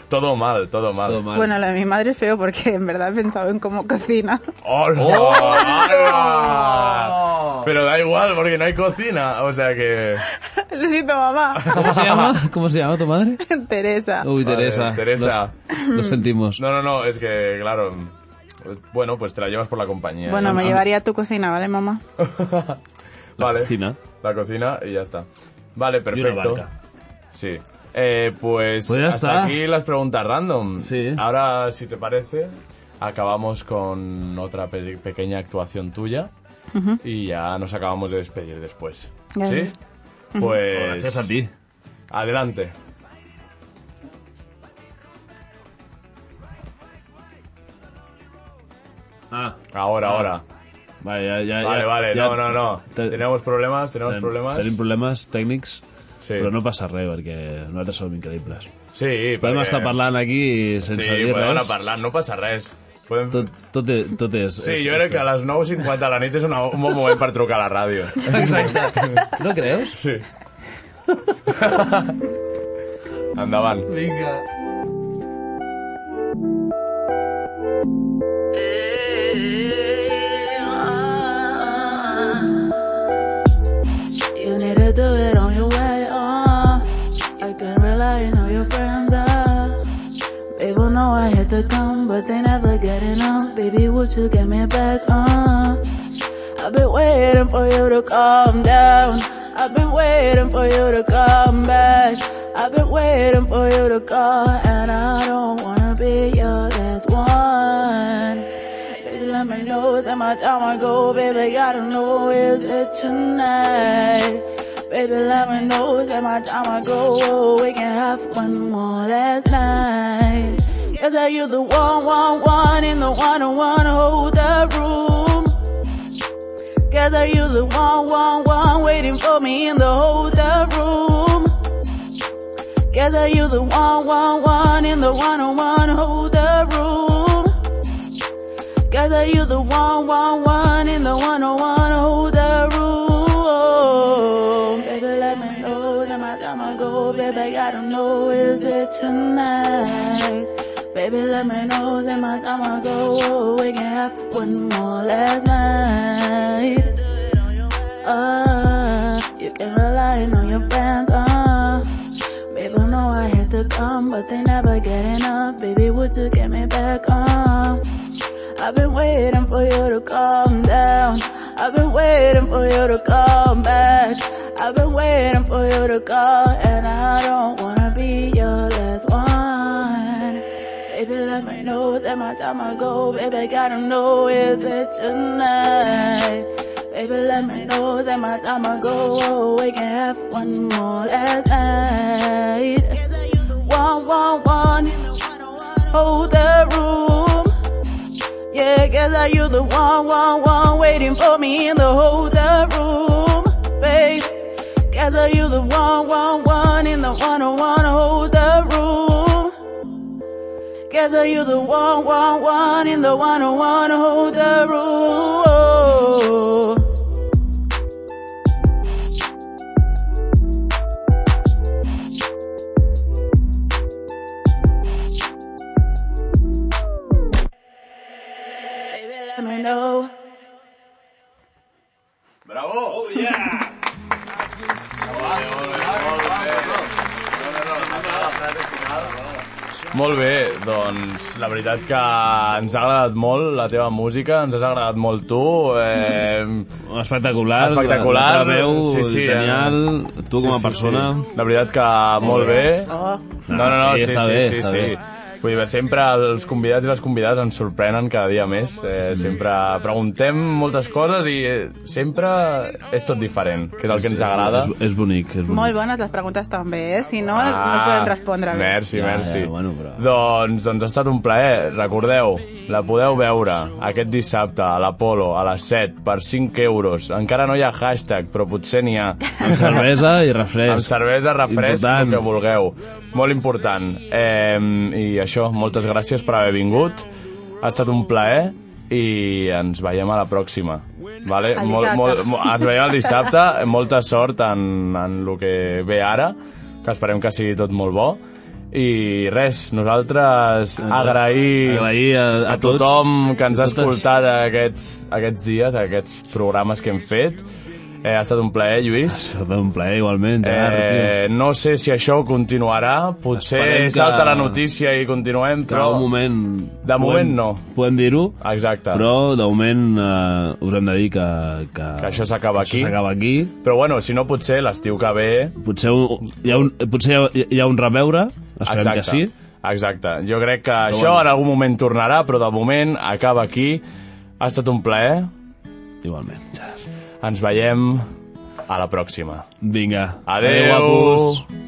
Speaker 3: todo mal, todo mal.
Speaker 8: Todo mal.
Speaker 5: Bueno, lo de mi madre es feo porque en verdad he pensado en cómo cocina. [LAUGHS]
Speaker 3: ¡Hola!
Speaker 4: ¡Oh!
Speaker 3: ¡Hola! Pero da igual, porque no hay cocina. O sea que...
Speaker 5: Lo siento, mamá.
Speaker 4: [LAUGHS]
Speaker 8: ¿Cómo se llama? ¿Cómo se llama tu madre?
Speaker 5: Teresa.
Speaker 8: Uy,
Speaker 3: Vale,
Speaker 8: Teresa.
Speaker 3: Teresa.
Speaker 8: Lo sentimos.
Speaker 3: No, no, no, es que, claro... Bueno, pues te la llevas por la compañía.
Speaker 5: Bueno, me llevaría a tu cocina, ¿vale, mamá?
Speaker 3: Vale.
Speaker 4: cocina.
Speaker 3: La cocina y ya está. Vale,
Speaker 4: Y
Speaker 3: perfecto.
Speaker 4: una barca.
Speaker 3: Sí. Eh, pues,
Speaker 4: Pues ya
Speaker 3: hasta
Speaker 4: está.
Speaker 3: aquí las preguntas random.
Speaker 4: Sí.
Speaker 3: Ahora, si te parece, acabamos con otra pe- pequeña actuación tuya y ya nos acabamos de despedir después.
Speaker 5: Ya
Speaker 3: ¿Sí?
Speaker 5: ves.
Speaker 3: Pues
Speaker 4: Gracias a ti.
Speaker 3: adelante.
Speaker 4: Ah,
Speaker 3: Ahora, ahora.
Speaker 4: vale, ya, ya,
Speaker 3: Vale,
Speaker 4: Ah, ya-
Speaker 3: vale.
Speaker 4: ya-
Speaker 3: no, no, no.
Speaker 4: Te-
Speaker 3: Tenemos problemas, tenemos
Speaker 4: ten-
Speaker 3: problemas.
Speaker 4: Tenim problemes tècnics,
Speaker 3: Sí.
Speaker 4: però no passa res, perquè nosaltres som increïbles.
Speaker 3: Sí,
Speaker 4: Podem
Speaker 3: perquè-
Speaker 4: estar parlant aquí sense
Speaker 3: Sí,
Speaker 4: dir
Speaker 3: podem anar
Speaker 4: res.
Speaker 3: parlant, no passa res. Podem...
Speaker 4: Tot, tot, és, tot és...
Speaker 3: Sí,
Speaker 4: és,
Speaker 3: jo crec que a les 9.50 de la nit és una, un bon moment per trucar a la ràdio. [LAUGHS]
Speaker 8: ¿No crees?
Speaker 3: Sí. Endavant.
Speaker 8: Venga.
Speaker 5: You need to do it on your way, uh. I can rely on all your friends, uh. People know I had to come, but they never get enough. Baby, would you get me back, uh? I've been waiting for you to calm down. I've been waiting for you to come back. I've been waiting for you to call, and I don't wanna be your last one. Baby, let me know it's how much time I go, baby. Gotta know is it tonight. Baby, let me know it's how much time I go. We can have one more last night. Cause are you the one, one, one in the one on one hold the room? Cause are you the one, one, one waiting for me in the hotel room? Cause are you the one, one, one in the one on one hotel room? Cause are you the one, one, one in the one on one hotel room? Baby, let me know that my time I go, baby, I don't know, is it tonight? Baby, let me know that my time I go, we can have one more last night. Uh, you can rely on your friends, uh. Baby, know I had to come, but they never get enough. Baby, would you get me back, uh? I've been waiting for you to calm down. I've been waiting for you to come back. I've been waiting for you to call, and I don't wanna be your last one. Baby, let me know that my time I go. Baby, gotta know is it tonight. Baby, let me know that my time I go. We can have one more last night. One, one, one. Hold the room. Yeah, guess I you the one, one, one waiting for me in the hotel room, babe. Guess I you the one, one, one in the one on one hotel room. Guess I you the one, one, one in the one on one hotel room. Baby, let me know.
Speaker 3: Bravo! Oh, yeah! Molt bé, molt bé, molt bé. Molt bé, doncs la veritat que ens ha agradat molt la teva música, ens has agradat molt tu. Eh,
Speaker 4: Espectacular.
Speaker 3: Espectacular.
Speaker 4: La, la teva veu,
Speaker 3: Sí, sí, eh.
Speaker 4: genial. Tu com a persona...
Speaker 3: La veritat que molt bé. No, no, no,
Speaker 4: Ah,
Speaker 3: sí,
Speaker 4: sí,
Speaker 3: sí,
Speaker 4: està
Speaker 3: sí.
Speaker 4: bé,
Speaker 3: sí,
Speaker 4: està bé.
Speaker 3: Vull dir, sempre els convidats i les convidades ens sorprenen cada dia més. Eh, sempre preguntem moltes coses i eh, sempre és tot diferent, que és el que ens agrada.
Speaker 4: És, és bonic, és bonic.
Speaker 5: Molt bones les preguntes també, eh? Si no, no
Speaker 3: Ah,
Speaker 5: podem respondre bé.
Speaker 3: Merci,
Speaker 4: Ja,
Speaker 3: merci.
Speaker 4: ja, bueno, però-
Speaker 3: doncs, doncs ha estat un plaer. Recordeu, la podeu veure aquest dissabte a l'Apolo a les 7 per 5 euros. Encara no hi ha hashtag, però potser n'hi ha.
Speaker 4: Amb cervesa i
Speaker 3: Amb
Speaker 4: refresc.
Speaker 3: cervesa, refresc,
Speaker 4: Important.
Speaker 3: el que vulgueu. Molt important. Eh, I això, moltes gràcies per haver vingut. Ha estat un plaer i ens veiem a la pròxima. Vale?
Speaker 5: El
Speaker 3: Molt,
Speaker 5: dissabte.
Speaker 3: molt, molt, ens veiem el dissabte. Molta sort en, en el que ve ara, que esperem que sigui tot molt bo. I res, nosaltres agrair,
Speaker 4: Eh, Agrair a, a,
Speaker 3: a
Speaker 4: tots.
Speaker 3: tothom que ens ha
Speaker 4: a totes.
Speaker 3: escoltat aquests, aquests dies, aquests programes que hem fet. Eh, ha estat un plaer, Lluís.
Speaker 4: Ha estat un plaer, igualment. Gerard, tio.
Speaker 3: Eh, no sé si això continuarà, potser
Speaker 4: Esperem
Speaker 3: que...
Speaker 4: que-
Speaker 3: salta la notícia i continuem,
Speaker 4: Però
Speaker 3: però...
Speaker 4: un moment...
Speaker 3: de moment no.
Speaker 4: Podem dir-ho,
Speaker 3: Exacte. Però...
Speaker 4: però de moment eh, us hem de dir que... Que,
Speaker 3: Que això s'acaba
Speaker 4: això
Speaker 3: aquí.
Speaker 4: s'acaba aquí.
Speaker 3: però bueno, si no, potser l'estiu que ve...
Speaker 4: Potser, un, hi, ha un, potser hi ha, hi ha un reveure, esperem
Speaker 3: Exacte.
Speaker 4: que sí.
Speaker 3: Exacte. Jo crec que això en algun moment tornarà, però de moment acaba aquí. Ha estat un plaer.
Speaker 4: Igualment. Gerard.
Speaker 3: Ens veiem a la pròxima.
Speaker 4: Vinga.
Speaker 3: Adeu.
Speaker 4: guapos.